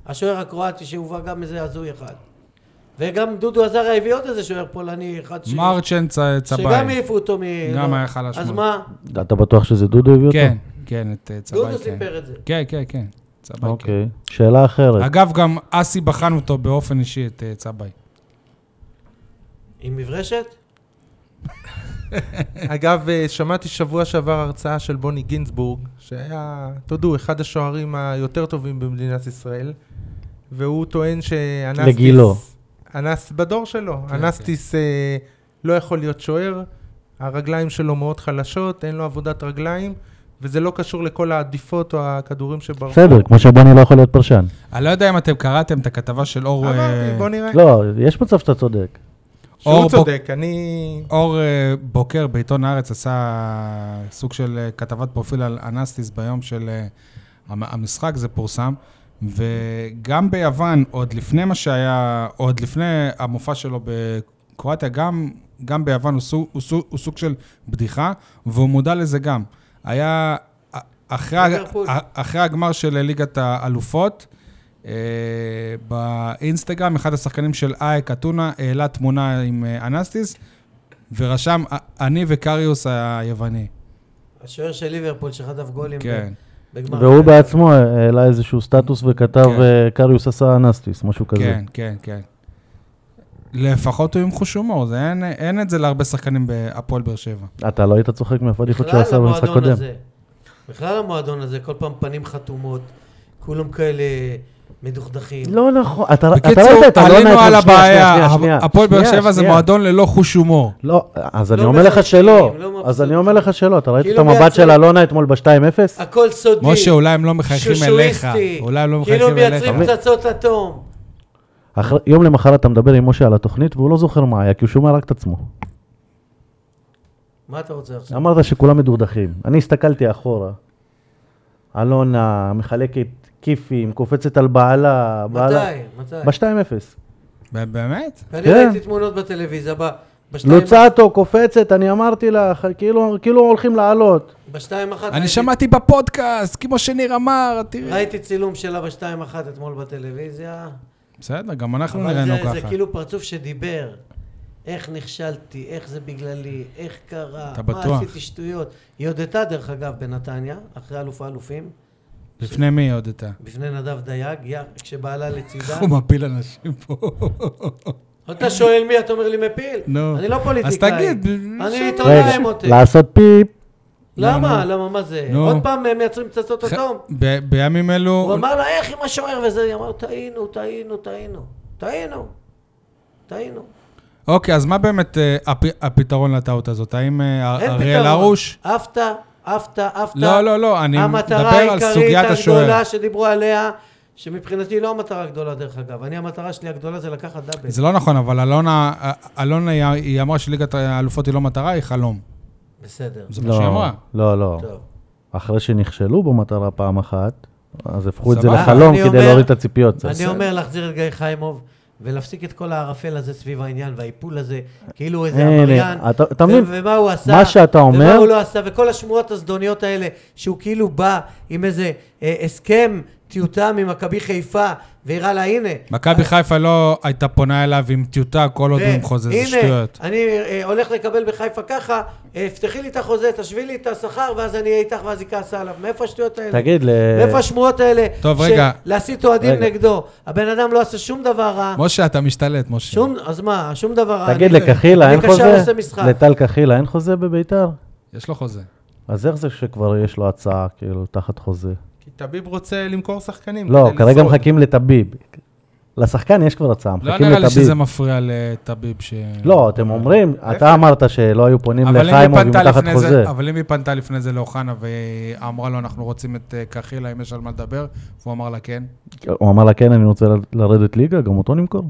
C: השוער הקרואטי שהובא גם איזה הזוי אחד. וגם דודו עזריה הביא עוד איזה שוער פולני אחד ש...
A: מרצ'ן צ-
C: שגם
A: צבאי.
C: העיפו אותו מ...
A: גם
C: לא.
A: היה חלש
C: אז
A: מאוד.
C: מה?
B: אתה בטוח שזה דודו הביא אותו?
A: כן, כן, את אה, צבאי.
C: דודו
A: כן.
C: סיפר את זה.
A: כן, כן, כן. צבאי, כן.
B: אוקיי. שאלה אחרת.
A: אגב, גם אסי בחן אותו באופן אישי, את אה, צבאי.
C: עם מברשת?
D: אגב, אה, שמעתי שבוע שעבר הרצאה של בוני גינזבורג, שהיה, תודו, אחד השוערים היותר טובים במדינת ישראל, והוא טוען שאנסטיס...
B: לגילו.
D: אנס, בדור שלו.
A: כן,
D: אנסטיס אה, לא יכול להיות שוער, הרגליים שלו מאוד חלשות, אין לו עבודת רגליים, וזה לא קשור לכל העדיפות או הכדורים שברחו.
B: בסדר, כמו שבוני לא יכול להיות פרשן.
A: אני לא יודע אם אתם קראתם את הכתבה של אור...
D: אמרתי,
A: אה,
D: בוא נראה.
B: לא, יש מצב שאתה צודק.
A: אור
D: שהוא
A: בוק-
D: צודק, אני...
A: אור אה, בוקר בעיתון הארץ עשה סוג של אה, כתבת פרופיל על אנסטיס ביום של אה, המ- המשחק, זה פורסם. וגם ביוון, עוד לפני מה שהיה, עוד לפני המופע שלו בקרואטיה, גם, גם ביוון הוא סוג, הוא, סוג, הוא סוג של בדיחה, והוא מודע לזה גם. היה אה, אחרי, הג-
C: ליברפול.
A: אה, אחרי הגמר של ליגת האלופות, אה, באינסטגרם, אחד השחקנים של אייק אתונה העלה תמונה עם אה, אנסטיס, ורשם, "א- אני וקריוס היווני.
C: השוער של ליברפול שחטף גולים
A: כן.
C: בגמר.
B: והוא בעצמו העלה איזשהו סטטוס וכתב
A: כן.
B: אה, קריוס עשה אנסטיס, משהו כזה.
A: כן, כן, כן. לפחות הוא עם חוש הומור, זה אין, אין את זה להרבה שחקנים בהפועל באר שבע.
B: אתה לא היית צוחק מהפדיחות שהוא
C: בכלל
B: עשה במשחק
C: המועדון
B: קודם.
C: הזה, בכלל המועדון הזה, כל פעם פנים חתומות, כולם כאלה מדוכדכים.
B: לא נכון, אתה אתה לא
A: בקיצור,
B: יודע, אתה לא יודע,
A: עלינו
B: שנייה,
A: על
B: שנייה,
A: הבעיה,
B: שנייה, שנייה,
A: הפועל באר
B: שנייה,
A: שבע זה
B: שנייה.
A: מועדון ללא חוש הומור.
B: לא, אז אני
C: לא
B: אומר לך
C: מחכים,
B: שלא,
C: לא
B: אז
C: מבסוט.
B: אני אומר לך שלא, אתה ראית את
C: כאילו אה.
B: המבט
C: מייצרים-
B: של אלונה אתמול ב-2-0?
C: הכל סודי.
A: משה, אולי הם לא מחייכים אליך.
C: אוקיי. שושואיסטי.
A: אולי הם לא
C: כאילו
A: מחייכים אליך.
C: מייצרים פצצות אטום.
B: יום למחרת אתה מדבר עם משה על התוכנית והוא לא זוכר מה היה, כי הוא שומע רק את עצמו.
C: מה אתה רוצה עכשיו?
B: אמרת שכולם מדורדכים. אני הסתכלתי אחורה. אלונה מחלקת כיפים, קופצת על בעלה. בעלה-
C: מתי? מתי?
B: ב-2-0.
A: ב- באמת?
C: אני
B: כן. לא
C: ראיתי תמונות בטלוויזיה, ב- בשתיים-
B: לוצאטו קופצת, אני אמרתי לך, כאילו, כאילו הולכים לעלות.
C: בשתיים אחת.
A: אני
C: ראיתי-
A: שמעתי בפודקאסט, כמו שניר אמר, תראה.
C: ראיתי צילום שלה בשתיים אחת אתמול בטלוויזיה.
A: בסדר, גם אנחנו
C: אבל
A: נראינו
C: זה- זה
A: ככה.
C: כאילו פרצוף שדיבר. איך נכשלתי, איך זה בגללי, איך קרה,
A: אתה
C: מה
A: בטוח?
C: עשיתי שטויות. היא הודתה דרך אגב בנתניה, אחרי אלוף האלופים,
A: לפני מי הודית?
C: בפני נדב דייג, יא- כשבעלה לצידה.
A: הוא מפיל אנשים פה.
C: אתה שואל מי, אתה אומר לי מפיל?
A: נו.
C: אני לא
A: אז
C: פוליטיקאי.
A: תגיד.
C: אני
A: שם-
C: עיתונאי מותק.
B: לעשות פיפ.
C: למה? למה? מה זה?
A: נו.
C: עוד פעם הם מייצרים פצצות אטום?
A: ב- בימים
C: הוא
A: אלו,
C: אמר לה, איך עם השוער וזה? היא אמרה, טעינו, טעינו, טעינו. טעינו. טעינו.
A: אוקיי, אז מה באמת אה, הפ- הפתרון לטעות הזאת? האם אה,
C: אין
A: אריאל
C: פתרון.
A: הרוש?
C: עפת, עפת, עפת.
A: לא, לא, לא, אני מדבר על סוגיית
C: המטרה העיקרית
A: השוער.
C: הגדולה שדיברו עליה, שמבחינתי לא המטרה הגדולה דרך אגב, אני המטרה שלי הגדולה זה לקחת דאבל.
A: זה לא נכון, אבל אלונה, אה, אלונה היא- היא אמרה שליגת האלופות היא לא מטרה, היא חלום.
C: בסדר.
A: זה מה שהיא אמרה.
B: לא, לא.
C: טוב.
B: אחרי שנכשלו במטרה פעם אחת, אז הפכו את זה
A: סבבה.
B: לחלום
C: אה, אני
B: כדי
C: אומר-
B: להוריד את הציפיות. זה
C: אני
B: בסדר.
C: אומר להחזיר את גיא חיימוב. ולהפסיק את כל הערפל הזה סביב העניין והאיפול הזה, כאילו הוא איזה
B: הנה,
C: עבריין,
B: אתה- אתה
C: ו-
B: מבין?
C: ומה הוא עשה,
B: מה שאתה אומר-
C: ומה הוא לא עשה, וכל השמועות הזדוניות האלה, שהוא כאילו בא עם איזה אה, הסכם טיוטה ממכבי חיפה, והראה לה, הנה,
A: מכבי חיפה לא הייתה פונה אליו עם טיוטה כל עוד הוא עם חוזה, זה שטויות.
C: הנה, אני אה, הולך לקבל בחיפה ככה, אה, פתחי לי את החוזה, תשווי לי את השכר, ואז אני אהיה איתך, ואז היא כעסה עליו. מאיפה השטויות האלה?
B: תגיד, ל-
C: מאיפה השמועות האלה?
A: טוב,
C: של
A: רגע.
C: להסית אוהדים
B: רגע.
C: נגדו. הבן אדם לא עשה שום דבר רע.
A: משה, אתה משתלט, משה.
C: שום, אז מה, שום דבר רע.
B: תגיד,
C: אני-
B: לקחילה אין
C: אני קשר
B: חוזה?
C: עושה משחק.
B: לטל קחילה אין חוזה בביתר?
A: יש לו חוזה.
B: אז איך זה שכבר יש לו הצעה, כאילו, תחת חוזה?
D: כי טביב רוצה למכור שחקנים.
B: לא,
D: כדי
B: כרגע
D: לשרוד.
B: מחכים לטביב. לשחקן יש כבר הצעה,
A: לא
B: מחכים
A: נראה לי
B: לטביב.
A: שזה מפריע לטביב ש...
B: לא, אתם אומרים, אתה אמרת שלא היו פונים
A: אבל אם היא
B: לחיימוב עם
A: פנתה
B: תחת
A: לפני
B: חוזה.
A: זה, אבל אם היא פנתה לפני זה לאוחנה ואמרה לו, אנחנו רוצים את אה, קחילה, אם יש על מה לדבר, והוא אמר לה כן.
B: הוא אמר לה, כן, אני רוצה ל- לרדת ליגה, גם אותו נמכור.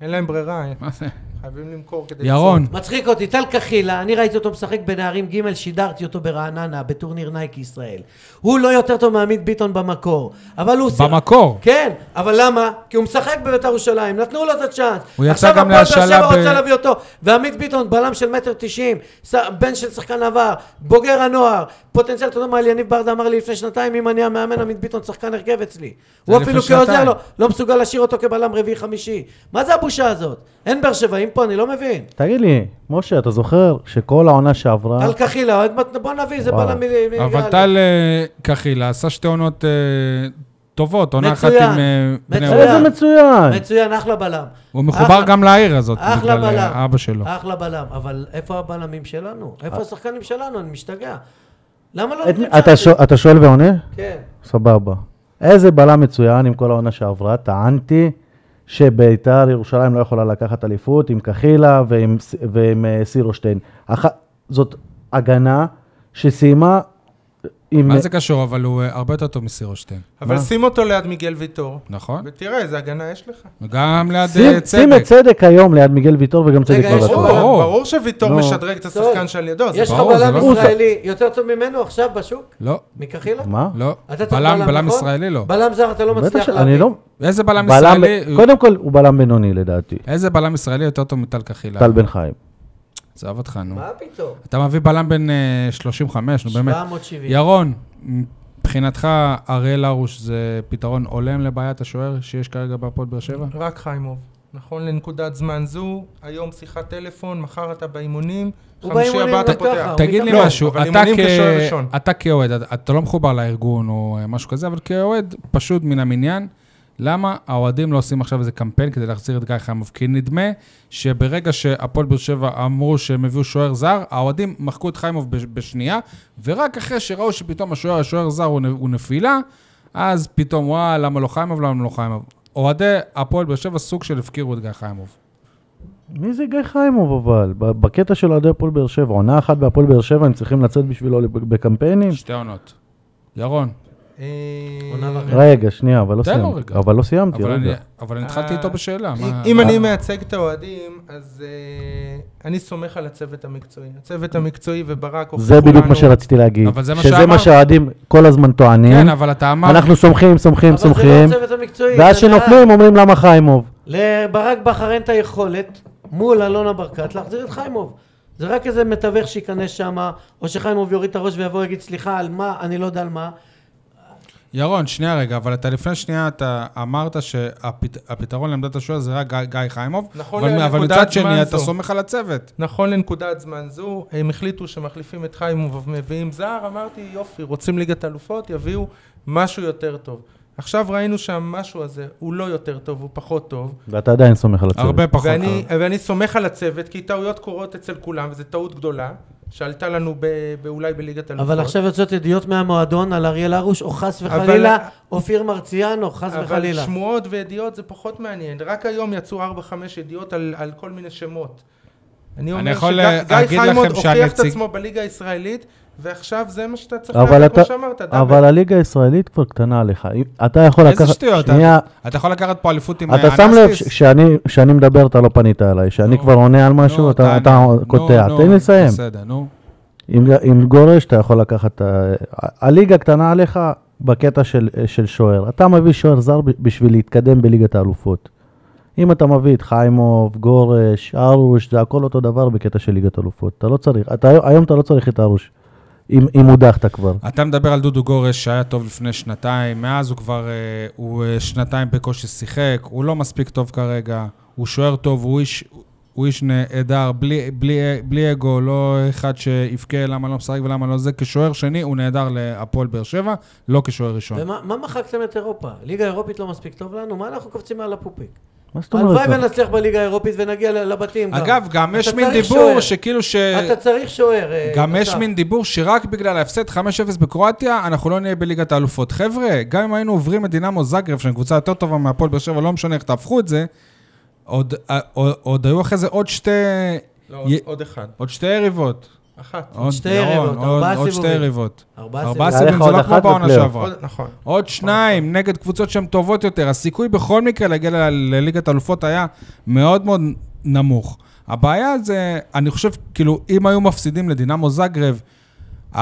D: אין להם ברירה,
A: מה זה?
D: חייבים למכור כדי...
A: ירון,
C: מצחיק אותי, טל קחילה, אני ראיתי אותו משחק בנערים ג', שידרתי אותו ברעננה, בטורניר נייק ישראל. הוא לא יותר טוב מעמית ביטון במקור, אבל הוא... שיחק-
A: במקור.
C: כן, אבל למה? כי הוא משחק בבית"ר ירושלים, נתנו לו את הצ'אנס.
A: הוא יצא גם
C: עכשיו הפועל
A: להשאלה
C: באר שבע
A: ב-
C: רוצה להביא אותו, ועמית ביטון, בלם של מטר תשעים, ש- בן של שחקן עבר, בוגר הנוער, פוטנציאל, אתה יודע מה, יניב ברדה אמר לי לפני שנתיים, אם אני המאמן, עמית ביטון שחקן הרכב אצלי. הוא
A: לפני
C: אפילו כעוזר
A: שנתיים.
C: לו, לא מסוגל להשאיר אותו כבלם רביעי חמישי. מה זה הבושה הזאת? אין באר שבעים פה, אני לא מבין.
B: תגיד לי, משה, אתה זוכר שכל העונה שעברה,
C: טל קחילה, עוד מעט- בוא נביא, זה
B: וואו.
C: בלם מ- מליגה.
A: אה. אבל
C: א'.
A: טל אה, קחילה עשה שתי עונות אה, טובות, עונה אחת
C: מצוין.
A: עם אה, בני
C: מצוין.
A: יהודה.
B: איזה מצוין!
C: מצוין, אחלה בלם. אה,
A: הוא מחובר
C: אחלה-
A: גם לעיר הזאת,
C: אחלה
A: בגלל
C: בלם.
A: אה, אבא שלו.
C: אחלה בלם, אבל איפה הבלמים שלנו? איפה השחקנים שלנו? אני משתגע. למה לא
B: אה. את-
C: נותנים
B: אתה
C: צ'אנסים?
B: שואל- אתה שואל ועונה?
C: כן.
B: סבבה. איזה בלם מצוין עם כל העונה שעברה, טענתי שביתר ירושלים לא יכולה לקחת אליפות עם קחילה ועם, ס- ועם אה, סירושטיין. אח... זאת הגנה שסיימה, אם...
A: מה זה קשור? אבל הוא אה, הרבה יותר טוב מסירושטיין,
D: אבל
B: מה?
D: שים אותו ליד מיגל ויטור,
A: נכון?
D: ותראה איזה הגנה יש לך.
A: גם ליד
B: שים-
A: אה,
B: שים
A: צדק.
B: את צדק היום ליד מיגל ויטור וגם צדק
C: רגע, יש
B: לא
C: לו
B: בטוח.
D: ברור,
C: ברור.
D: ברור, ברור שוויטור
B: לא.
D: משחקן של השחקן
C: טוב,
D: שלידו. זה
C: יש לך
D: ברור.
A: ברור, זה
C: בלם
A: לא-
C: ישראלי יותר טוב ממנו עכשיו בשוק?
A: לא,
C: מקחילה?
B: מה?
A: לא.
C: אתה צריך
A: בלם,
C: בלם,
A: בלם
C: נכון?
A: ישראלי לא.
C: בלם זר אתה לא
B: בטח
C: מצליח
B: ש- אני
C: להביא.
B: לא...
A: איזה בלם
B: בלם...
A: ישראלי...
B: קודם כל, הוא בלם בינוני לדעתי.
A: איזה בלם ישראלי יותר טוב מטל קחילה?
B: טל בן חיים.
A: עזוב אותך, נו.
C: מה פתאום?
A: אתה מביא בלם בן אה, 35, נו באמת.
C: 770.
A: ירון, מבחינתך אריאל הרוש זה פתרון הולם לבעיית השוער שיש כרגע בהפועל באר שבע?
D: רק חיימוב. נכון לנקודת זמן זו, היום שיחת טלפון, מחר אתה באימונים,
C: הוא
D: חמישי
C: באימונים
D: הבא אתה
C: גם
D: פותח.
C: ככה.
A: תגיד לי
D: לא,
A: משהו,
D: אבל
A: אתה
D: אימונים
A: כ-
D: כשוער ראשון.
A: אתה כאוהד, אתה- אתה לא מחובר לארגון או אה, משהו כזה, אבל כאוהד פשוט מן המניין, למה האוהדים לא עושים עכשיו איזה קמפיין כדי להחזיר את גיא חיימוב? כי נדמה שברגע שהפועל באר שבע אמרו שהם הביאו שוער זר, האוהדים מחקו את חיימוב בש- בשנייה, ורק אחרי שראו שפתאום השוער, השוער זר הוא נ- הוא נפילה, אז פתאום, וואה, למה לא חיימוב, למה לא חיימוב? אוהדי הפועל באר שבע סוג של הפקירו את גיא חיימוב.
B: מי זה גיא חיימוב אבל? ב- בקטע של אוהדי הפועל באר שבע, עונה אחת בהפועל באר שבע, הם צריכים לצאת בשבילו לב- בקמפיינים?
A: שתי עונות. ירון,
D: אה,
C: עונה וחצי.
B: רגע, שנייה, אבל לא
A: תן לו
B: סיימתי.
A: רגע.
B: אבל לא סיימתי,
A: אבל אני-
B: רגע.
A: אבל אני התחלתי
D: אה,
A: איתו בשאלה. מה-
D: אם אני
B: אה.
D: מייצג את האוהדים, אז אה, אני סומך על הצוות המקצועי. הצוות המקצועי וברק הוכיחו
B: זה
D: לנו...
B: בדיוק מה שרציתי להגיד.
A: אבל זה מה
B: שזה
A: שאמרת.
B: מה שהאוהדים כל הזמן טוענים.
A: כן, אבל אתה אמרת...
B: Mm-hmm. אנחנו סומכים, סומכים,
C: אבל
B: סומכים.
C: זה לא הצוות המקצועי.
B: ואז
C: זה הנהלה.
B: כשנופלים אומרים למה חיימוב.
C: לברק בכר אין את היכולת מול אלונה ברקת להחזיר את חיימוב. זה רק איזה מתווך שייכנס שם, או שחיימוב יוריד את הראש ויבוא ויגיד סליחה על מה, אני לא יודע על מה.
A: ירון, שנייה רגע, אבל אתה לפני שנייה אתה אמרת שהפתרון לעמדת השוער זה רק גיא- גיא חיימוב,
D: נכון,
A: אבל- אבל
D: לנקודת
A: מצד
D: זמן
A: שני אתה
D: זו.
A: סומך על הצוות.
D: נכון לנקודת זמן זו, הם החליטו שמחליפים את חיימוב ומביאים זר, אמרתי יופי, רוצים ליגת אלופות, יביאו משהו יותר טוב. עכשיו ראינו שהמשהו הזה הוא לא יותר טוב, הוא פחות טוב.
B: ואתה עדיין סומך על הצוות.
A: הרבה פחות.
D: ואני, ואני סומך על הצוות, כי טעויות קורות אצל כולם, וזו טעות גדולה, שעלתה לנו ב, ב, אולי בליגת אלופות.
C: אבל עכשיו יוצאות ידיעות מהמועדון על אריאל הרוש, או חס
D: אבל-
C: וחלילה, אופיר מרציאנו, חס וחלילה.
D: אבל שמועות וידיעות זה פחות מעניין. רק היום יצאו 4-5 ידיעות על, על כל מיני שמות. אני
A: אני
D: אומר
A: יכול
D: שגיא
A: להגיד
D: גיא חיימוד
A: לכם
D: הוכיח את
A: שהנציג-
D: עצמו בליגה הישראלית, ועכשיו זה מה שאתה צריך
B: אבל
D: לעשות,
B: אתה,
D: כמו שאמרת,
B: אבל הליגה הישראלית כבר קטנה עליך. אם- אתה יכול לקחת...
A: איזה שטויות,
B: שנייה,
A: אתה- אתה יכול לקחת פה אליפות עם
B: אתה
A: אה,
B: שם לב
A: אנסטיס?
B: שכשאני מדבר אתה לא פנית אליי, שאני
A: נו,
B: כבר עונה על משהו,
A: נו,
B: אתה
A: לא, תענה.
B: אתה
A: נו,
B: קוטע.
A: נו,
B: תן לי לסיים.
A: בסדר, נו.
B: עם עם גורש אתה יכול לקחת... אה, הליגה קטנה עליך בקטע של אה, של שוער. אתה מביא שוער זר ב- בשביל להתקדם בליגת האלופות. אם אתה מביא את חיימוב, גורש, ארוש, זה הכל אותו דבר בקטע של ליגת אלופות. אתה לא צריך, אתה, היום אתה לא צריך את ארוש, אם אם הודחת כבר.
A: אתה מדבר על דודו גורש שהיה טוב לפני שנתיים, מאז הוא כבר, אה, הוא אה, שנתיים בקושי שיחק, הוא לא מספיק טוב כרגע, הוא שוער טוב, הוא איש, הוא איש נהדר, בלי, בלי, בלי אגו, לא אחד שיבכה למה לא משחק ולמה לא זה, כשוער שני הוא נהדר להפועל באר שבע, לא כשוער
B: כן.
A: ראשון.
C: ומה מה מחקתם את אירופה? ליגה אירופית לא מספיק טוב לנו? מה אנחנו קופצים מעל הפופיק?
B: מה זאת אומרת? אה.
C: הלוואי ונצליח בליגה האירופית ונגיע ל- לבתים גם.
A: אגב, גם
C: לא אתה
A: יש מין
C: צריך
A: דיבור
C: שוער.
A: שכאילו ש...
C: אתה צריך שוער. אה,
A: גם יש
C: אסף.
A: מין דיבור שרק בגלל ההפסד 5-0 בקרואטיה, אנחנו לא נהיה בליגת האלופות. חבר'ה, גם אם היינו עוברים את דינמו זאגרב, שהיא קבוצה יותר טובה מהפועל באר שבע, לא משנה איך תהפכו את זה, עוד, עוד, עוד היו אחרי זה עוד שתי,
D: לא, עוד,
A: י-
D: עוד אחד,
A: עוד שתי יריבות.
D: אחת.
A: עוד-
C: שתי
A: ירון,
C: יריבות,
A: עוד-
C: ארבעה
A: עוד שתי
C: סיבובים.
A: יריבות.
C: ארבעה
A: ארבעה
B: היה
C: סיבובים.
A: סיבובים,
B: לך
A: זה
B: עוד
A: לא כמו
B: אחת
A: בעונה
B: בפלייאוף.
A: שעברה.
D: עוד, נכון.
A: עוד שניים נגד קבוצות שהן טובות יותר. הסיכוי בכל מקרה להגיע ל- לליגת אלופות היה מאוד מאוד נמוך. הבעיה זה, אני חושב, כאילו, אם היו מפסידים לדינמו זגרב, 4-2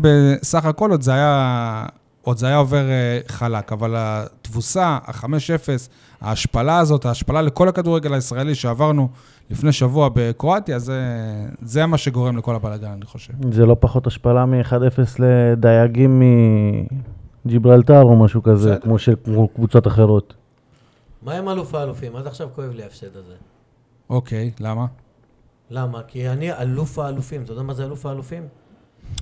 A: בסך הכל, עוד זה היה, עוד זה היה עובר אה, חלק. אבל התבוסה, ה-5-0, ההשפלה הזאת, ההשפלה לכל הכדורגל הישראלי שעברנו לפני שבוע בקרואטיה, זה, זה מה שגורם לכל הבלאגן, אני חושב.
B: זה לא פחות השפלה מ-1-0 לדייגים מג'יברלטר או משהו כזה,
A: בסדר.
B: כמו שקבוצות אחרות.
C: מה עם אלוף האלופים? עד עכשיו כואב לי ההפסד הזה.
A: אוקיי, למה?
C: למה? כי אני אלוף האלופים. אתה יודע מה זה אלוף האלופים?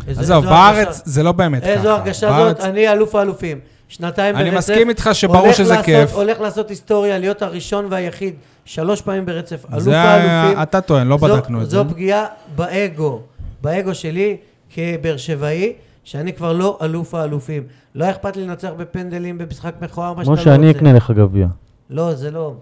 C: איזה-
A: עזוב,
C: איזו
A: בארץ
C: הרגשה-
A: זה לא באמת ככה.
C: איזו הרגשה
A: בארץ-
C: זאת, אני אלוף האלופים. שנתיים
A: אני
C: ברצף.
A: מסכים איתך שברור
C: הולך
A: שזה
C: לעשות-
A: כיף.
C: הולך לעשות היסטוריה, להיות הראשון והיחיד, שלוש פעמים ברצף. אלוף
A: זה
C: האלופים.
A: ה- אתה טוען, לא בדקנו את זה.
C: זו פגיעה באגו, באגו שלי כבאר שבעי, שאני כבר לא אלוף האלופים. לא אכפת לי לנצח בפנדלים, במשחק מכוער, מה שאתה
B: כמו
C: לא רוצה.
B: שאני אקנה לך גביע.
C: לא, זה לא.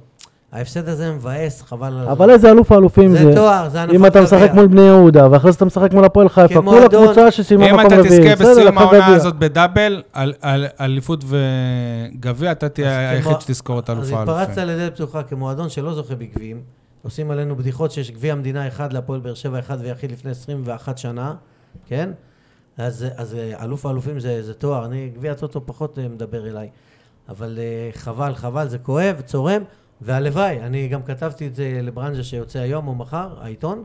C: ההפסד הזה מבאס, חבל על
B: אבל איזה אלוף האלופים
C: זה
B: זה.
C: תואר, זה הנפת
B: אם אתה משחק
C: גביע.
B: מול בני יהודה, ואחרי זה אתה משחק מול הפועל חיפה, כל
C: כמועדון.
B: הקבוצה שסיימה
A: אם
B: מקום
A: אתה
B: רביעי.
A: תזכה
B: בסדר,
A: בסיום
B: לקחה
A: העונה
B: גביע.
A: הזאת בדאבל, על- על על אליפות וגביע, אתה תהיה
C: אז
A: היחיד
C: כמו-
A: שתזכור את
C: אז
A: אלוף
C: התפרצת
A: האלופים.
C: לדלת פתוחה כמועדון שלא זוכה בגביעים. עושים עלינו בדיחות שיש גביע המדינה אחד להפועל באר שבע אחד ויחיד לפני 21 שנה, כן? אז, אז אה, אלוף האלופים זה, זה תואר, אני, גביע הטוטו פחות אה, מדבר אליי. אבל אה, חבל, חבל, זה כואב, צורם, והלוואי, אני גם כתבתי את זה לברנז'ה שיוצא היום או מחר, העיתון,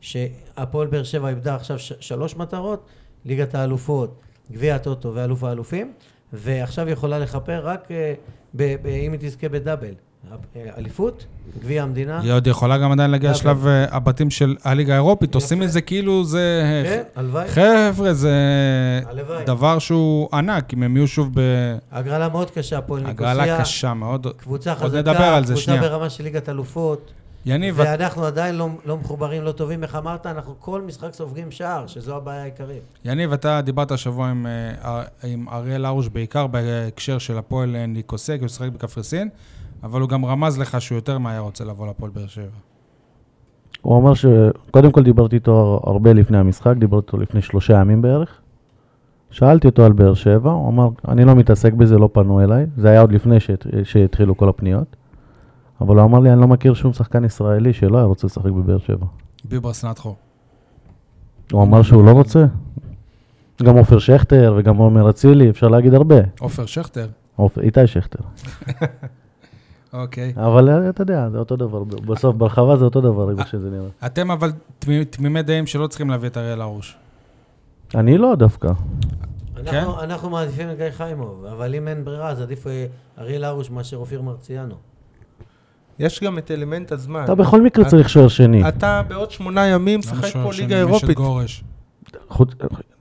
C: שהפועל באר שבע איבדה עכשיו ש- שלוש מטרות, ליגת האלופות, גביע הטוטו ואלוף האלופים, ועכשיו היא יכולה לכפר רק אה, ב- ב- אם היא תזכה בדאבל. אה, אליפות, גביע המדינה.
A: היא עוד יכולה גם עדיין להגיע
C: אבל-
A: לשלב אה, הבתים של הליגה האירופית, עושים את זה כאילו זה...
C: כן, הלוואי.
A: חבר'ה, זה
C: הלוואי.
A: דבר שהוא ענק, אם הם יהיו שוב
C: הגרלה מאוד קשה, הפועל
A: בהגרלה
C: ניקוסיה.
A: קשה מאוד.
C: קבוצה
A: עוד נדבר
C: חזקה,
A: על זה,
C: קבוצה
A: שנייה.
C: ברמה של ליגת אלופות.
A: יניב, את-
C: ואנחנו עדיין לא, לא מחוברים, לא טובים, איך אמרת, אנחנו כל משחק סופגים שער, שזו הבעיה העיקרית.
A: יניב, אתה דיברת השבוע עם, אה, אה, עם אריאל הרוש, בעיקר בהקשר של הפועל אה, ניקוסיה, כי הוא שיחק בקפריסין, אבל הוא גם רמז לך שהוא יותר מהר רוצה לבוא לפועל באר שבע.
B: הוא אמר ש... קודם כל דיברתי איתו הרבה לפני המשחק, דיברתי איתו לפני שלושה ימים בערך. שאלתי אותו על באר שבע, הוא אמר, אני לא מתעסק בזה, לא פנו אליי. זה היה עוד לפני שהת... שהתחילו כל הפניות. אבל הוא אמר לי, אני לא מכיר שום שחקן ישראלי שלא היה רוצה לשחק בבאר שבע.
A: ביברס נתחו.
B: הוא אמר שהוא לא רוצה. גם עופר שכטר וגם עומר אצילי, אפשר להגיד הרבה.
A: עופר שכטר.
B: עופ- איתי שכטר.
A: אוקיי.
B: אבל אה, אתה יודע, זה אותו דבר. ב- בסוף ברחבה זה אותו דבר, איך שזה נראה.
A: אתם אבל תמי- תמימי דעים שלא צריכים להביא את אריאל הרוש.
B: אני לא דווקא.
C: אנחנו, כן? אנחנו מעדיפים את גיא חיימוב, אבל אם אין ברירה, אז עדיף אה, אריאל הרוש מאשר אופיר מרציאנו.
D: יש גם את אלמנט הזמן.
B: אתה בכל מקרה צריך שוער שני.
D: אתה בעוד שמונה ימים
A: למה
D: משחק
A: שוער
D: פה
A: שני?
D: ליגה
A: יש את
D: אירופית.
A: גורש.
B: חוץ-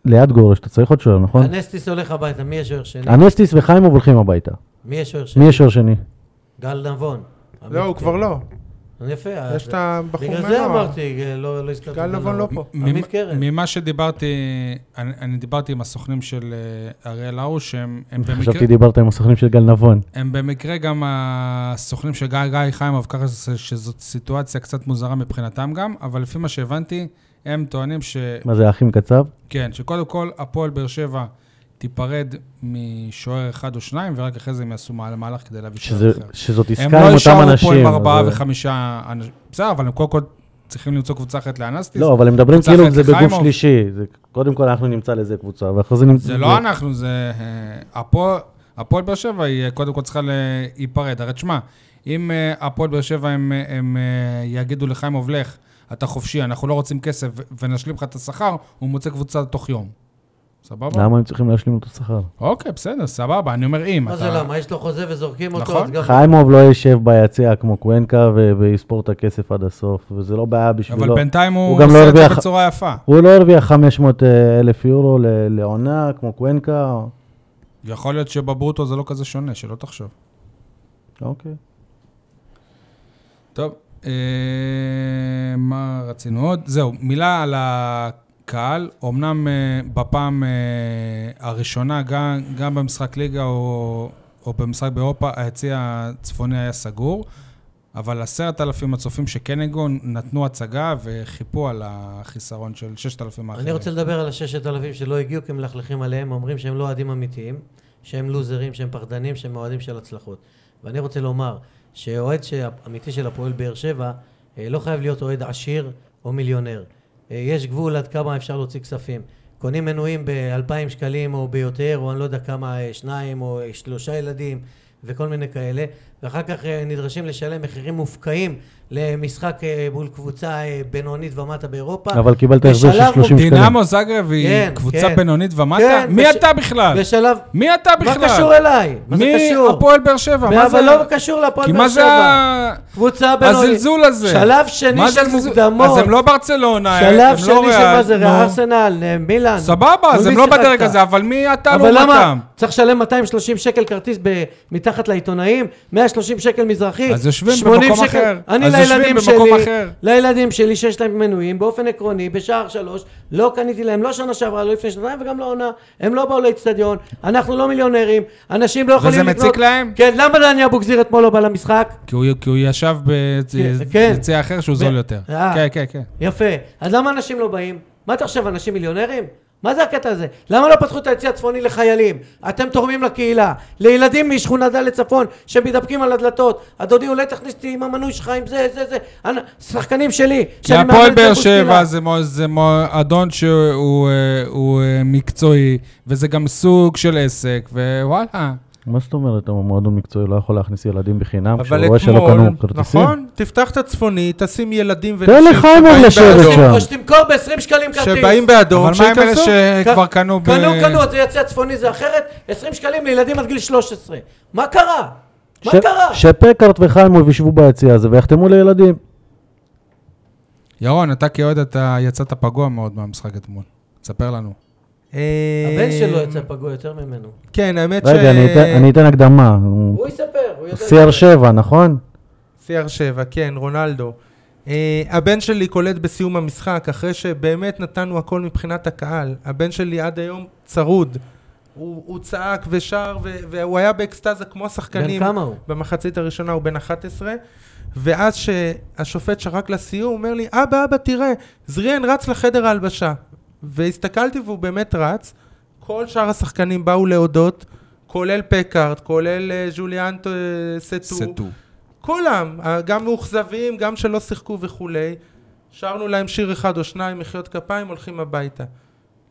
B: ליד גורש, אתה צריך עוד שוער, נכון?
C: אנסטיס הולך הביתה, מי יהיה שוער שני?
B: אנסטיס וחיימוב הולכים הביתה.
C: מי יהיה שוער שני?
B: מי יש שוער שני?
C: גל נבון. כן.
D: לא, הוא כבר לא.
C: יפה.
D: יש
C: אז-
D: את הבחור
C: בגלל אה, זה
D: מהנוער.
C: אמרתי, אה, לא לא הזכרתי.
D: גל
C: את
D: נבון לא פה.
C: עמית
A: ממ-
C: קרן.
A: ממה שדיברתי, אני, אני דיברתי עם הסוכנים של אה, אריאל הרוש, הם, הם, במקרה,
B: חשבתי דיברת עם הסוכנים של גל נבון.
A: הם במקרה גם הסוכנים של גיא, גיא חיימוב, ככה ש- שזאת סיטואציה קצת מוזרה מבחינתם גם, אבל לפי מה שהבנתי, הם טוענים ש...
B: מה זה, האחים קצב?
A: כן, שקודם כל הפועל באר שבע תיפרד משוער אחד או שניים, ורק אחרי זה הם יעשו מה- מהלך כדי להביא שוער
B: שזה-
A: אחר.
B: שזאת עסקה
A: הם
B: עם
A: לא
B: אותם
A: יישארו
B: אנשים. אה,
A: פה עם ארבעה
B: אבל-
A: וחמישה אנשים. בסדר, אבל הם קודם כל צריכים למצוא קבוצה אחרת לאנסטיס.
B: לא, אבל הם מדברים
A: קבוצה
B: כאילו
A: אחרת
B: זה בגוף
A: לחיימוב.
B: שלישי. זה- קודם כל אנחנו נמצא לזה קבוצה, ואחרי זה נמצא...
A: זה לא אנחנו, זה... אה, הפועל- הפועל באר שבע היא אה, קודם כל צריכה להיפרד. הרי תשמע, אם אה, הפועל באר שבע הם, אה, הם אה, יגידו לחיים לך, אתה חופשי, אנחנו לא רוצים כסף ו- ונשלים לך את השכר, הוא מוצא קבוצה תוך יום. סבבה?
B: למה הם צריכים להשלים את השכר?
A: אוקיי, בסדר, סבבה, אני אומר אם.
C: מה
A: אתה-
C: זה למה? יש לו חוזה וזורקים אותו,
A: נכון.
C: אז גם...
B: חיימוב לא יישב ביציע כמו קוונקה ו- ויספור את הכסף עד הסוף, וזה לא בעיה
A: אבל
B: בשבילו.
A: בינתיים הוא
B: הוא גם לא
A: עושה את זה
B: הרוויח-
A: בצורה יפה.
B: הוא לא הרוויח 500 אה, אלף יורו ל- לעונה כמו קוונקה.
A: יכול להיות שבברוטו זה לא כזה שונה, שלא תחשוב.
B: אוקיי.
A: טוב, אה, מה רצינו עוד? זהו, מילה על הקהל. אמנם אה, בפעם אה, הראשונה, גם, גם במשחק ליגה או, או במשחק באירופה, היציע הצפוני היה סגור, אבל עשרת אלפים הצופים שכן הגיעו נתנו הצגה וחיפו על החיסרון של ששת אלפים האחרים.
C: אני רוצה לדבר על הששת אלפים שלא הגיעו, כי מלכלכים עליהם, אומרים שהם לא אוהדים אמיתיים, שהם לוזרים, שהם פחדנים, שהם אוהדים של הצלחות. ואני רוצה לומר, שאוהד ש- אמיתי של הפועל באר שבע, אה, לא חייב להיות אוהד עשיר או מיליונר. אה, יש גבול עד כמה אפשר להוציא כספים. קונים מנויים ב-2,000 שקלים או ביותר, או אני לא יודע כמה, אה, שניים או אה, שלושה ילדים וכל מיני כאלה, ואחר כך אה, נדרשים לשלם מחירים מופקעים למשחק אה, מול קבוצה אה, בינונית ומטה באירופה.
B: אבל קיבלת החזר של
C: נכון. בשלב
B: 30 שקלים.
A: דינמו זאגרב היא
C: כן,
A: קבוצה
C: כן.
A: בינונית ומטה?
C: כן,
A: מי
C: בש-
A: אתה בכלל?
C: בשלב...
A: מי אתה בכלל?
C: מה קשור אליי? מה זה
A: מי
C: קשור?
A: הפועל באר שבע? מה זה?
C: אבל לא קשור להפועל
A: כי
C: באר
A: מה זה
C: שבע.
A: ה...
C: קבוצה בינונית.
A: הזלזול הזה?
C: שלב שני
A: מה זה
C: של
A: הזלזול?
C: מוקדמות.
A: אז הם לא ברצלונה, הם
C: שלב
A: לא
C: שני של מה זה?
A: נו.
C: ארסנל, אה, מילאן.
A: סבבה, אז
C: מול
A: הם
C: מי
A: לא
C: שיחקת?
A: בדרג הזה, אבל מי אתה לא
C: אבל למה?
A: לעומתם?
C: צריך לשלם 230 שקל כרטיס ב- מתחת לעיתונאים, 100 130 שקל מזרחי,
A: אז יושבים
C: 80
A: במקום
C: שקל.
A: אחר.
C: אני
A: אז יושבים
C: לילדים
A: במקום
C: שלי,
A: אחר.
C: לילדים שלי שיש להם מנויים, באופן עקרוני, בשער שלוש, לא קניתי להם, לא שנה שעברה, לא לפני שנתיים וגם לא עונה. הם לא באו לאצטדיון, אנחנו לא מיליונרים, אנשים לא יכולים לקנות...
A: מציק להם?
C: כן, למה דני אבוגזיר אתמול לא בא למשחק?
A: כי הוא, כי הוא ישב
C: כן.
A: ביציע אחר שהוא
C: ב-
A: זול יותר.
C: אה.
A: כן, כן, כן.
C: יפה. אז למה אנשים לא באים? מה אתה חושב, אנשים מיליונרים? מה זה הקטע הזה? למה לא פתחו את היציא הצפוני לחיילים? אתם תורמים לקהילה, לילדים משכונה ד' צפון שמתדפקים על הדלתות. אדוני, אולי תכניס אותי עם המנוי שלך, עם זה, זה, זה. אני- שחקנים שלי,
A: כי
C: שאני מאמן
A: הפועל
C: את
A: באר
C: בוסקילה.
A: שבע זה מו- זה מועדון שהוא אה, הוא, אה, מקצועי, וזה גם סוג של עסק, ווואלה.
B: מה זאת אומרת, המועדון מקצועי לא יכול להכניס ילדים בחינם, כשהוא
D: אבל
B: רואה שלא
D: אתמול,
B: קנו כרטיסים?
D: נכון? תפתח את הצפוני, תשים ילדים
B: תן לחיימר
D: שבאים
B: לשבת
D: באדום-
B: שם.
C: או שתמכור ב-20 שקלים כרטיס.
D: שבאים באדום,
A: אבל מה עם אלה
D: שייכנסו.
A: שכבר קנו ב...
C: קנו, קנו, אז זה יציא הצפוני, זה אחרת. 20 שקלים לילדים עד גיל 13. מה קרה? מה
B: ש-
C: קרה?
B: שפקארט וחיימוב ישבו ביציע הזה ויחתמו לילדים.
A: ירון, אתה כאוהד, אתה יצאת פגוע מאוד מהמשחק אתמול. תספר לנו.
D: אה,
C: הבן שלו יצא פגוע יותר ממנו.
D: כן, האמת ש...
B: רגע, אני אתן- אני אתן הקדמה. הוא-
C: הוא יספר, הוא יודע.
B: CR7, נכון?
D: CR7, כן, רונלדו. Uh, הבן שלי קולט בסיום המשחק, אחרי שבאמת נתנו הכל מבחינת הקהל. הבן שלי עד היום צרוד. הוא, הוא צעק ושר, ו- והוא היה באקסטזה כמו השחקנים.
C: בן כמה הוא?
D: במחצית הראשונה הוא בן 11. ואז שהשופט שרק לסיום, הוא אומר לי, אבא, אבא, תראה, זריאן רץ לחדר ההלבשה. והסתכלתי והוא באמת רץ. כל שאר השחקנים באו להודות, כולל פקארט, כולל אה, ז'וליאנטו אה, סטו.
A: סטו.
D: כולם, אה, גם מאוכזבים, גם שלא שיחקו וכולי. שרנו להם שיר אחד או שניים, מחיאות כפיים, הולכים הביתה.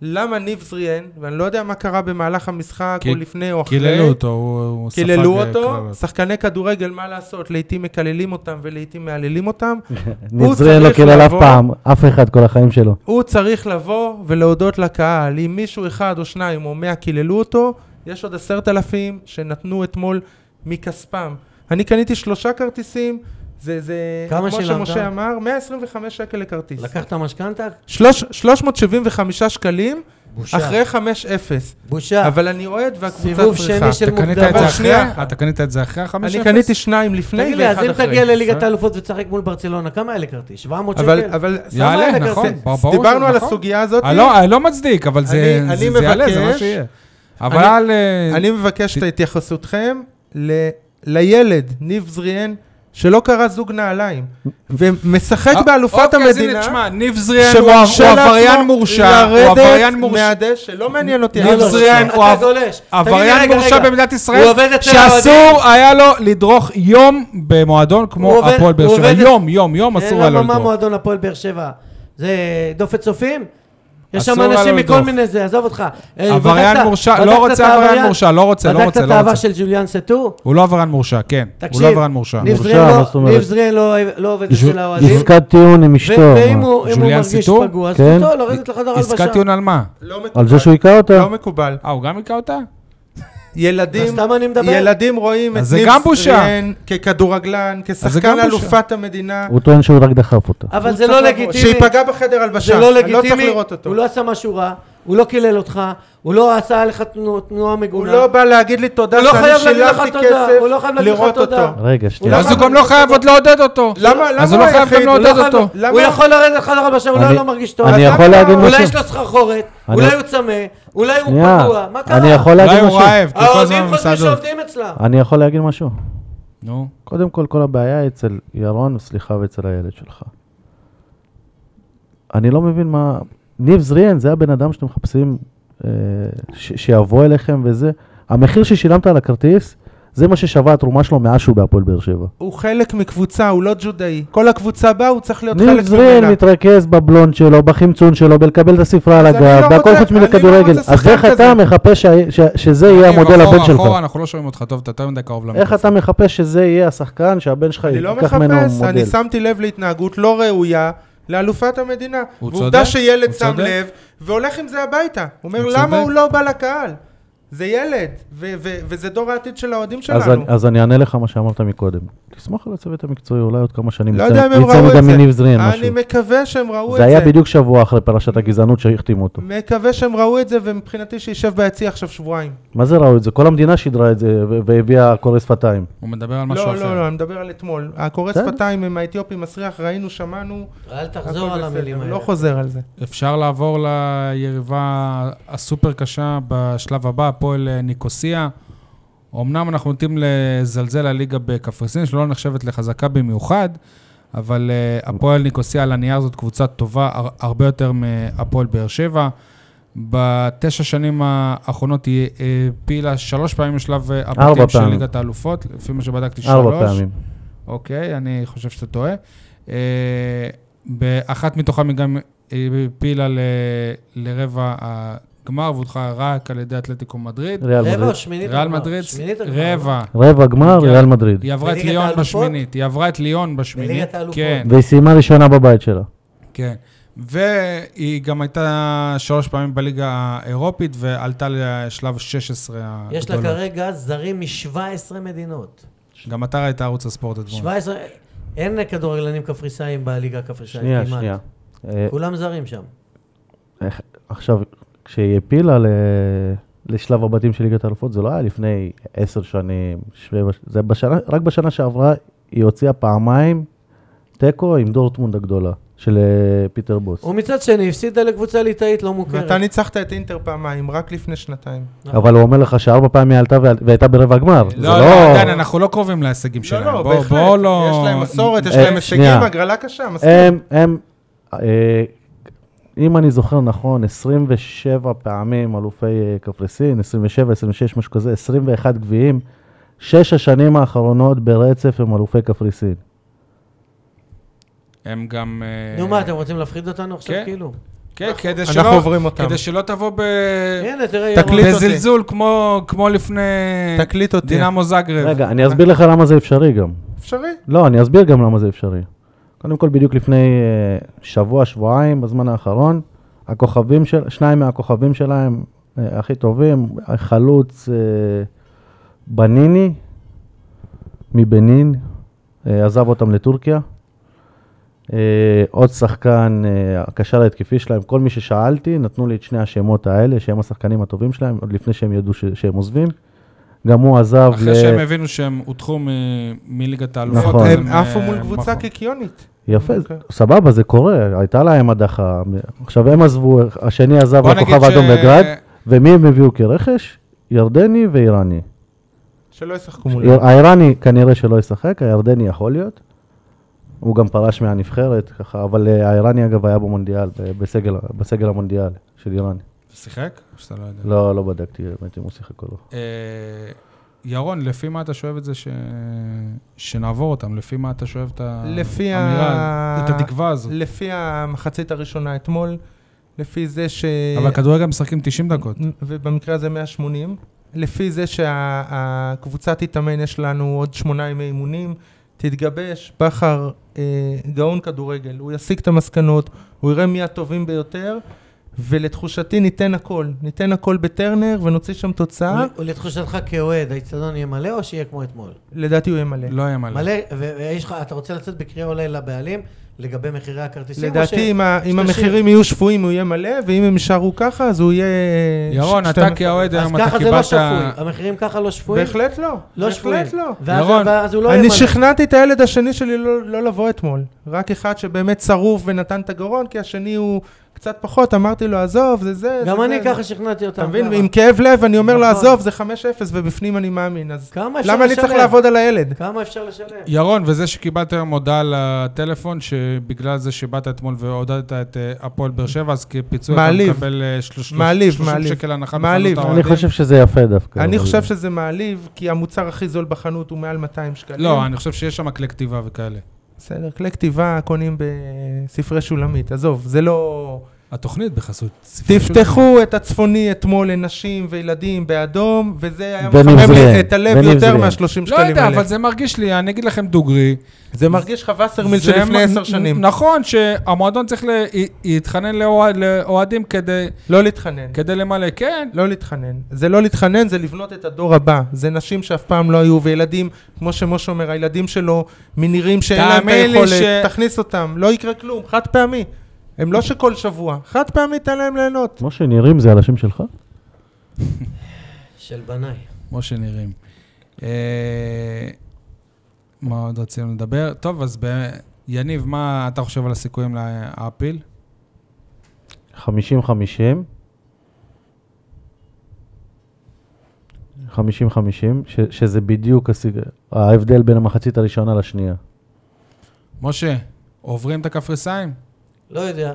D: למה ניב זריאן, ואני לא יודע מה קרה במהלך המשחק,
A: כי-
D: או לפני או
C: אוקיי.
D: אחרי,
A: קיללו אותו, הוא הוא ספג...
D: קיללו
A: אה,
D: אותו,
A: קללות.
D: שחקני כדורגל, מה לעשות, לעתים מקללים אותם ולעתים מהללים אותם. הוא
B: נזריאן לא
D: צריך
B: קילל אף
D: לבוא-
B: פעם, אף אחד כל החיים שלו.
D: הוא צריך לבוא ולהודות לקהל. אם מישהו אחד או שניים או מאה קיללו אותו, יש עוד עשרת אלפים שנתנו אתמול מכספם. אני קניתי שלושה כרטיסים, זה, זה
C: כמה
D: כמו
C: שילמת?
D: שמשה אמר, 125 שקל לכרטיס.
C: לקחת משכנתה?
D: שלוש, 375 שקלים,
C: בושה.
D: אחרי 5-0.
C: בושה.
D: אבל אני אוהד והקבוצה
C: סיבוב שני
D: צריכה.
C: של
A: אתה קנית
C: מוקדם.
A: את זה
D: אבל
A: אחרי?
D: שנייה.
A: אתה קנית את זה אחרי החמש
D: אני
A: אפס?
D: קניתי שניים לפני
C: תגיד לי, אז
D: ואחד
C: אם
D: אחרי.
C: תגיע לליגת
A: בסדר.
C: האלופות ותשחק מול ברצלונה, כמה יעלה כרטיס? 700 שקל?
D: אבל, אבל
A: יעלה,
C: למה אין
A: נכון.
C: הכרטיס?
A: ברור שזה
D: דיברנו על
A: נכון.
D: הסוגיה הזאת.
A: אה, לא, אה, לא מצדיק, אבל זה
D: אני-
A: זה-
D: אני
A: זה יעלה, זה מה
D: מבקש-
A: שיהיה. אבל על... אה,
D: אני מבקש את התייחסותכם ל- לילד, ניב זריאן, שלא קרא זוג נעליים, ומשחק באלופת
A: אוקיי, אז הנה,
D: המדינה,
A: תשמע, ניב זריאן הוא הוא עבריין מורשע, הוא עבריין מורשע.
D: מהדשא, שלא מעניין אותי. לא
A: ניב
D: אבא.
A: זריאן
C: אתה
A: הוא עב-
C: גולש. תגיד לי,
A: אה, עבריין
C: רגע,
A: מורשע
C: רגע.
A: במדינת ישראל,
C: הוא עובד אצל האוהדים.
A: שאסור היה לו לדרוך יום במועדון
C: הוא
A: כמו
C: עובד-
A: הפועל באר
C: הוא
A: שבע.
C: עובד-
A: יום, יום, יום
C: אין
A: אסור היה
C: למה
A: לו
C: מה
A: לדרוך.
C: מועדון הפועל באר שבע? זה דופת צופים? יש שם
A: אסור היה לו
C: אנשים מכל
A: לדרוך.
C: מיני זה, עזוב אותך. אה,
A: עבריין
C: בדקת-
A: מורשע, לא
C: בדקת את
A: רוצה עבריין
C: העבריין?
A: מורשע, לא רוצה, לא רוצה,
C: בדקת
A: לא
C: את האהבה
A: רוצה.
C: של ג'וליאן סטור?
A: הוא לא עבריין מורשע, כן. הוא לא
C: תקשיב,
A: עבריין מורשע.
C: ניב
B: מורשע,
C: זריאן
B: מה
C: לא-
B: זאת אומרת?
C: ניב ז'וליאן לא עובד אצל האוהדים.
B: עסקת טיעון עם
C: ו-
B: אשתו.
C: ואם
B: מה?
C: הוא אם הוא
A: ז'וליאן
C: מרגיש
A: סיטור?
C: פגוע, אז
B: כן.
C: זכותו לרדת לחדר הלבשה.
A: עסקת טיעון על מה?
D: לא מקובל.
B: על זה שהוא היכה אותה.
D: לא מקובל.
A: אה, הוא גם היכה אותה?
D: ילדים,
C: אז סתם אני מדבר.
D: ילדים רואים את
A: אז זה גם
D: ניב
A: בושה.
D: זריאן ככדורגלן,
A: זה גם
D: כשחקן
A: בושה.
D: אלופת המדינה.
B: הוא טוען שהוא רק דחף אותה.
C: אבל
D: הוא
C: זה
D: צריך
C: לא
D: לבוא.
C: לגיטימי.
D: שייפגע בחדר הלבשה.
C: זה לא
D: אני לא צריך
C: לגיטימי,
D: לראות אותו.
C: הוא לא עשה משהו רע, הוא לא קילל אותך, הוא לא עשה לך תנו- תנועה
D: הוא
C: מגונה.
D: לא בא להגיד לי תודה
C: הוא לא
D: שאני
C: חייב להגיד לך
D: שילמתי
C: תודה,
D: כסף
C: הוא לא חייב להגיד לך
D: לראות
C: תודה.
D: אותו.
B: רגע, שנייה.
D: לא
A: אז הוא
D: חייב
A: גם לא
D: לעשות
A: חייב
D: אותו.
A: עוד לעודד אותו.
D: למה, למה
A: אז הוא לא חייב גם
D: היחיד?
C: הוא לא
A: לעודד
C: חייב-
A: אותו.
D: למה?
C: הוא יכול לרדת לחדר הלבשה, אולי הוא
B: אני-
C: לא מרגיש טוב.
B: אני
D: אז
B: יכול
D: למה-
B: להגיד
D: אולי
C: אולי
B: משהו?
C: יש לו סחרחורת,
B: אני-
C: אולי הוא צמא, אולי הוא
B: שנייה,
C: פגוע, מה קרה?
B: אני יכול
A: אולי
B: להגיד
A: הוא
B: משהו?
A: רעב, כי הוא כל הזמן
C: האוהדים חושבים
A: במסעדות.
C: שעובדים אצלם.
B: אני יכול להגיד משהו?
A: נו.
B: קודם כל, כל הבעיה אצל ירון, סליחה, ואצל הילד שלך. אני לא מבין מה... ניב זריאן זה הבן אדם שאתם מחפשים אה, ש- שיבוא אליכם וזה. המחיר ששילמת על הכרטיס, זה מה ששווה התרומה שלו מאז שהוא בהפועל באר שבע.
D: הוא חלק מקבוצה, הוא לא ג'ודאי. כל הקבוצה באה, הוא צריך להיות
B: ניב
D: חלק
B: זריאן
D: ממנה.
B: מתרכז בבלונד שלו, בחמצון שלו, בלקבל את הספרה על
D: אז אני
B: הגב,
D: לא
B: והכל
D: רוצה-
B: חוץ
D: אני לא
B: מכדורגל.
D: רוצה
B: אז
D: שחקן
B: איך אתה
D: כזה.
B: מחפה שה- ש- שזה יהיה
A: תקשיב,
B: המודל
A: אחורה,
B: לבן שלך?
A: אחורה, אנחנו לא שומעים אותך טוב, אתה יותר מדי קרוב למיקרופון.
B: איך אתה מחפה שזה יהיה השחקן שהבן שלך
D: אני לא
B: ייקח ממנו
D: מחפש,
B: מודל?
D: אני שמתי לב להתנהגות לא ראויה לאלופת המדינה.
A: הוא
D: ועובדה
A: צודק,
D: שילד
A: הוא
D: שם
A: צודק.
D: לב, והולך עם זה הביתה. הוא אומר,
A: הוא
D: למה
A: צודק.
D: הוא לא בא לקהל? זה ילד, ו- ו- וזה דור העתיד של האוהדים שלנו.
B: אז, אני- אז אני אענה לך מה שאמרת מקודם. תסמוך על הצוות המקצועי, אולי עוד כמה שנים
D: לא
B: יצא-
D: יודע אם הם
B: יצא
D: ראו את
B: גם
D: זה.
B: מניב זריאן
D: אני
B: משהו.
D: מקווה שהם ראו את זה.
B: זה היה בדיוק שבוע אחרי פרשת הגזענות שהחתימו אותו.
D: מקווה שהם ראו את זה, ומבחינתי שישב ביציע עכשיו שבועיים.
B: מה זה ראו את זה? כל המדינה שידרה את זה ו- והביאה קורא שפתיים.
A: הוא מדבר על משהו
D: לא,
A: אחר.
D: לא, לא, אני מדבר על אתמול. הקורא
C: כן?
B: בסדר.
D: שפתיים עם האתיופי מסריח, ראינו, שמענו.
C: אל
D: הכל
C: תחזור על
D: בסדר,
C: המילים האלה. כן,
D: לא חוזר על זה.
A: אפשר לעבור ליריבה הסופר קשה בשלב הבא, הפועל אה, ניקוסיה. אמנם אנחנו נוטים לזלזל הליגה בקפריסין, שלא נחשבת לחזקה במיוחד, אבל אה, הפועל ניקוסיה על הנייר זאת קבוצה טובה הר- הרבה יותר מהפועל באר שבע. בתשע שנים האחרונות היא אה, פעילה שלוש פעמים לשלב אה, הבתים של
B: פעמים.
A: ליגת האלופות, לפי מה שבדקתי שלוש.
B: ארבע פעמים.
A: אוקיי, אני חושב שאתה טועה. אה, באחת מתוכם היא גם העפילה ל- לרבע הגמר והודחה רק על ידי אתלטיקו מדריד.
B: ריאל
C: רבע
B: מדריד.
C: או שמינית?
A: ריאל
C: הגמר?
A: מדריד,
C: שמינית הגמר, לא?
A: רבע.
B: רבע גמר,
A: כן.
B: ריאל מדריד.
A: היא עברה את
C: בליגת
A: ליון
C: האלופות?
A: בשמינית, היא עברה את ליון בשמינית.
C: בליגת האלופות.
A: כן,
B: והיא סיימה ראשונה בבית שלה.
A: כן. והיא גם הייתה שלוש פעמים בליגה האירופית ועלתה לשלב 16
C: לא?
A: הגדולות.
C: יש לה כרגע זרים מ-17 מדינות.
A: גם אתה ראית ערוץ הספורט אתמול.
C: 17... אין כדורגלנים קפריסאים בליגה הקפריסאית
B: שנייה,
C: כמעט.
B: שנייה. אה,
C: כולם זרים שם.
B: איך- עכשיו, כשהיא הפילה ל- לשלב הבתים של ליגת האלופות, זה לא היה לפני עשר שנים, שבע, זה בשנה, רק בשנה שעברה היא הוציאה פעמיים תיקו עם דורטמונד הגדולה של אה, פיטר בוס.
C: ומצד שני, הפסידה לקבוצה ליטאית לא מוכרת.
D: ואתה ניצחת את אינטר פעמיים, רק לפני שנתיים.
C: נכון.
B: אבל הוא אומר לך שארבע פעמים היא עלתה וה- והייתה ברבע גמר. זה
A: לא, לא, עדיין, אנחנו לא קרובים להישגים
D: לא,
A: שלהם.
D: לא,
A: בואו-
D: בהחלט.
A: בואו לא...
D: יש להם מסורת, יש
B: אה,
D: להם הישגים,
B: שנייה.
D: הגרלה קשה, מסכים.
C: אה,
B: הם, הם, אה, אם אני זוכר נכון, 27 פעמים אלופי אה, קפריסין, 27, 26, משהו כזה, 21 גביעים, שש השנים האחרונות ברצף הם אלופי קפריסין.
A: הם גם... אה,
C: נו מה, אתם רוצים להפחיד אותנו עכשיו
A: כן.
C: כאילו?
A: כן, כדי
D: אנחנו
A: שלא...
D: עוברים אותם.
A: כדי שלא תבוא ב...
C: הנה, תראה,
D: תקליט.
C: ירון.
A: בזלזול, כמו, כמו לפני...
D: תקליט אותי.
A: דינמו זאגרב.
B: רגע, אני אסביר לך למה זה אפשרי גם.
D: אפשרי.
B: לא, אני אסביר גם למה זה אפשרי. קודם כל, בדיוק לפני אה, שבוע, שבועיים, בזמן האחרון, הכוכבים של, שניים מהכוכבים שלהם אה, הכי טובים, החלוץ אה, בניני מבנין, אה, עזב אותם לטורקיה. אה, עוד שחקן, אה, הקשר ההתקפי שלהם, כל מי ששאלתי, נתנו לי את שני השמות האלה, שהם השחקנים הטובים שלהם, עוד לפני שהם ידעו ש- שהם עוזבים. גם הוא עזב
A: אחרי שהם הבינו שהם הודחו מ... מליגת האלופות.
B: נכון.
A: אז
D: הם עפו
A: אה,
D: מול קבוצה
A: מחו.
D: קיקיונית.
B: יפה,
D: אוקיי.
B: סבבה, זה קורה, הייתה להם הדחה. עכשיו הם עזבו, השני עזב
A: בוא נגיד
B: לכוכב
A: ש-
B: אדום בגראד, ומי הם הביאו כרכש? ירדני ואיראני.
D: שלא ישחקו מולם.
C: אה,
B: האיראני כנראה שלא ישחק, הירדני יכול להיות. הוא גם פרש מהנבחרת, ככה, אבל אה, האיראני אגב היה במונדיאל, ב- בסגל, בסגל המונדיאל של איראן.
A: שיחק? או שאתה לא יודע.
B: לא, לא בדקתי באמת אם הוא שיחק או לא.
A: אה, ירון, לפי מה אתה שואב את זה ש... שנעבור אותם? לפי מה אתה שואב את
D: לפי ה-
A: האמירה, את התקווה הזאת?
D: לפי המחצית הראשונה אתמול, לפי זה ש...
A: אבל כדורגל משחקים 90 דקות.
D: ובמקרה הזה 180. לפי זה שהקבוצה תתאמן, יש לנו עוד שמונה ימי אימונים, תתגבש, בכר אה, גאון כדורגל, הוא יסיק את המסקנות, הוא יראה מי הטובים ביותר, ולתחושתי ניתן הכל, ניתן הכל בטרנר ונוציא שם תוצאה,
A: לא.
C: ול- ולתחושתך כאוהד, האיצטדיון יהיה מלא או שיהיה כמו אתמול?
D: לדעתי הוא יהיה מלא.
A: לא היה מלא.
C: מלא, ו- ויש לך, אתה רוצה לצאת בקריאה אולי לבעלים לגבי מחירי הכרטיסים? או
D: לדעתי אם ה- אם
C: שתשאיר.
D: המחירים יהיו שפויים הוא יהיה מלא, ואם הם יישארו ככה אז הוא יהיה...
A: ירון,
D: ש-
A: אתה
D: 12.
A: כאוהד
C: אז
A: היום, אתה
C: ככה זה לא
A: קיבלת...
C: שפוי, המחירים ככה לא שפויים?
D: בהחלט לא,
C: לא
D: בהחלט
C: שפויים.
D: לא.
C: ואז-
A: ירון,
C: ואז הוא לא יהיה
D: אני
C: מלא.
D: שכנעתי את הילד השני שלי לא, לא לבוא אתמול. רק אחד שבאמת שרוף ונתן את הגרון, כי השני הוא קצת פחות, אמרתי לו, עזוב, זה זה, זה
C: גם
D: זה,
C: אני
D: זה."
C: ככה שכנעתי אותם.
D: אתה מבין?
C: כמה.
D: ועם כאב לב אני אומר לו,
C: נכון.
D: עזוב, זה 5-0 ובפנים אני מאמין, אז
C: כמה אפשר
D: למה אני צריך
C: לשלם?
D: לעבוד על הילד?
C: כמה אפשר לשלם?
A: ירון, וזה שקיבלת היום הודעה לטלפון, שבגלל זה שבאת אתמול ועודדת את אה, הפועל באר שבע, אז כפיצוי אתה
D: מעליב.
A: מקבל אה, שלוש- שלוש-
D: מעליב,
A: 30
D: מעליב.
A: שקל הנחה
D: מעליב.
A: בחנות
B: אני
A: האוהדים.
B: חושב שזה יפה
A: כן,
B: דווקא.
D: אני
B: אבל-
D: חושב שזה מעליב, כי המוצר הכי זול בחנות הוא מעל 200 שקלים.
A: לא, אני חושב שיש שם כלי כתיבה וכאלה.
D: בסדר, כלי כתיבה קונים בספרי שולמית, עזוב, זה לא...
A: התוכנית בחסות ספרי שו"ת.
D: תפתחו את הצפוני אתמול לנשים וילדים באדום, וזה היה
B: בנבזרין,
D: מחמם לי את הלב יותר
B: בנבזרין.
D: מה-30 שקלים
A: לא
D: האלה.
A: יודע, אבל זה מרגיש לי, אני אגיד לכם דוגרי.
D: זה מרגיש לך וסרמיל
A: זה
D: שלפני
A: מ-
D: עשר שנים.
A: נכון, שהמועדון צריך לה- להתחנן לאוה- לאוהדים כדי-
D: לא להתחנן.
A: כדי למלא. כן,
D: לא להתחנן. זה לא להתחנן, זה לבנות את הדור הבא. זה נשים שאף פעם לא היו, וילדים, כמו שמשה אומר, הילדים שלו מנהירים שאין להם את
A: תאמין לי
D: היכולת,
A: ש-
D: תכניס אותם, לא יקרה כלום, חד פעמי. הם לא שכל שבוע, חד פעמי תן להם ליהנות.
B: כמו שנראים זה על השם שלך?
C: של בניי.
A: כמו שנראים. אה, מה עוד רצינו לדבר? טוב, אז ב- יניב, מה אתה חושב על הסיכויים לאפיל?
B: 50-50. 50-50, ש- שזה בדיוק הסיג... ההבדל בין המחצית הראשונה לשנייה.
A: משה, עוברים את הקפריסאים?
C: לא יודע.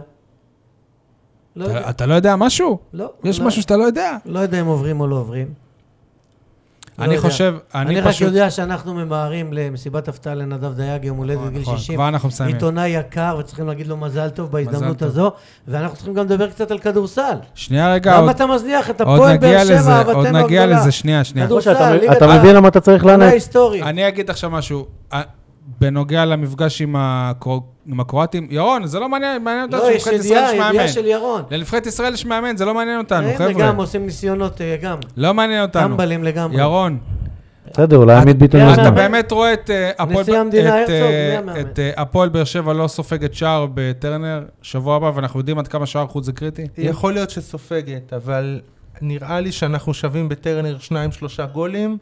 C: לא
A: אתה-
C: יודע.
A: אתה לא יודע משהו?
C: לא,
A: יש
C: לא-
A: משהו שאתה לא יודע?
C: לא יודע אם עוברים או לא עוברים. לא
A: אני
C: יודע.
A: חושב, אני
C: אני רק
A: פשוט...
C: יודע שאנחנו ממהרים למסיבת הפתעה לנדב דייג, יום הולדת גיל
A: נכון,
C: 60.
A: כבר אנחנו מסיימים.
C: עיתונאי יקר, וצריכים להגיד לו מזל טוב
A: מזל
C: בהזדמנות
A: טוב.
C: הזו, ואנחנו צריכים גם לדבר קצת על כדורסל.
A: שנייה רגע, עוד-
C: למה אתה מזניח את
A: עוד
C: הפועל
A: נגיע
C: באר
A: לזה,
C: שבע,
A: עוד
C: אהבתנו
A: נגיע
C: הגדולה? לא
A: לזה, שנייה, שנייה.
C: כדורסל,
B: אתה-
C: ליגת
B: אתה
C: העל.
B: מבין למה אתה צריך
C: עונה
B: לענות?
C: היסטורית.
A: אני אגיד עכשיו משהו. אה, בנוגע למפגש עם הקרו- עם הקרואטים, ירון, זה לא מעניין, מעניין אותנו
C: לא, יש
A: שלנבחרת ישראל
C: ידיעה,
A: יש
C: ידיעה של
A: מאמן.
C: ירון.
A: לנבחרת ישראל יש מאמן, זה לא מעניין אותנו,
C: הם גם
A: חבר'ה.
C: עושים ניסיונות אה, גם.
A: לא מעניין אותנו.
C: טמבלים לגמרי.
A: ירון,
B: בסדר, אולי עמית ביטון
C: אתה
A: אתה
B: יוזמן.
A: באמת רואה את אה, הפועל-
C: נשיא המדינה
A: את,
C: הרצוג,
A: אה,
C: מי המאמן?
A: את אה, הפועל באר שבע לא סופגת שער בטרנר שבוע הבא, ואנחנו יודעים עד כמה שער חוץ זה קריטי?
D: יכול להיות שסופגת, אבל נראה לי שאנחנו שווים בטרנר שניים שלושה גולים,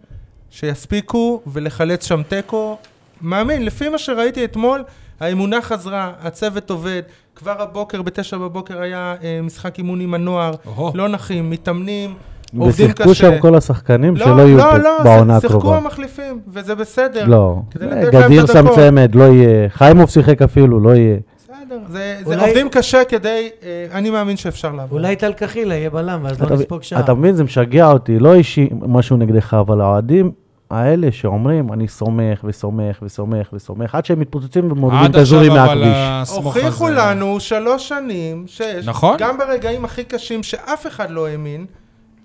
D: שיספיקו ולחלץ שם תיקו. מאמין, לפי מה שראיתי אתמול, האמונה חזרה, הצוות עובד. כבר הבוקר, בתשע בבוקר היה אה, משחק אימון עם הנוער,
A: אוהו.
D: לא נחים, מתאמנים, עובדים קשה.
B: ושיחקו שם כל השחקנים שלא יהיו
D: לא,
B: פה
D: לא,
B: בעונה
D: שיחקו
B: הקרובה.
D: המחליפים, וזה בסדר.
B: לא,
D: כדי לתת להם את
B: גדיר שם
D: הדקות.
B: צמד, לא יהיה. חיימוב שיחק אפילו, לא יהיה.
D: בסדר, זה, זה
C: אולי-
D: עובדים קשה כדי, אה, אני מאמין שאפשר לעבור.
C: אולי טל קחילה יהיה בלם, ואז
B: אתה-
C: לא נספוג שער.
B: אתה מבין, זה משגע אותי, לא אישי משהו נגדך, אבל האוהדים האלה שאומרים, אני סומך וסומך וסומך וסומך, עד שהם מתפוצצים ומורידים
A: עד עכשיו
B: את הזורים
A: אבל
B: לא,
A: אה,
B: מהכביש.
A: הסמוך הזה...
D: הוכיחו לנו שלוש שנים שיש,
A: נכון.
D: גם ברגעים הכי קשים שאף אחד לא האמין,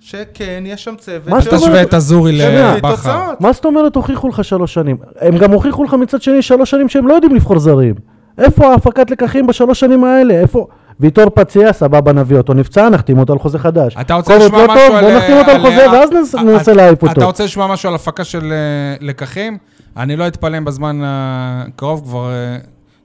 D: שכן, יש שם צוות.
B: מה זאת
D: שעובד.
A: תשווה את הזורי
D: שמביא
A: לבכר.
D: לא- תוצאות.
B: מה זאת אומרת הוכיחו לך שלוש שנים? הם גם הוכיחו לך מצד שני שלוש שנים שהם לא יודעים לבחור זרים. איפה ההפקת לקחים בשלוש שנים האלה? איפה? ויטור פציע, סבבה, נביא אותו. נפצע, נחתים אותו על חוזה חדש.
A: אתה רוצה
B: כל עוד
A: לשמוע
B: לא
A: משהו
B: טוב,
A: על...
B: בוא נחתים אותו על חוזה, ואז ננס-
A: אה,
B: ננסה
A: אה,
B: להעיף
A: אתה
B: אותו.
A: רוצה לשמוע משהו על הפקה של אה, לקחים? אני לא אתפלא אם בזמן הקרוב כבר אה,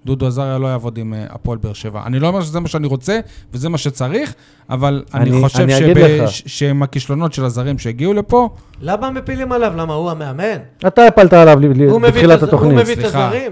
A: דודו עזריה לא יעבוד עם אה, הפועל באר שבע. אני לא אומר שזה מה שאני רוצה וזה מה שצריך, אבל אני
B: אני-
A: חושב
B: אני אגיד
A: שב-
B: לך.
A: ש- שעם הכישלונות של הזרים שהגיעו לפה,
C: למה מפילים עליו? למה הוא המאמן?
B: אתה הפלת עליו ל- ל-
C: הוא מביא את
B: בתחילת
C: הז- הוא
B: התוכנית.
C: מביא את
A: סליחה.
C: הזרים.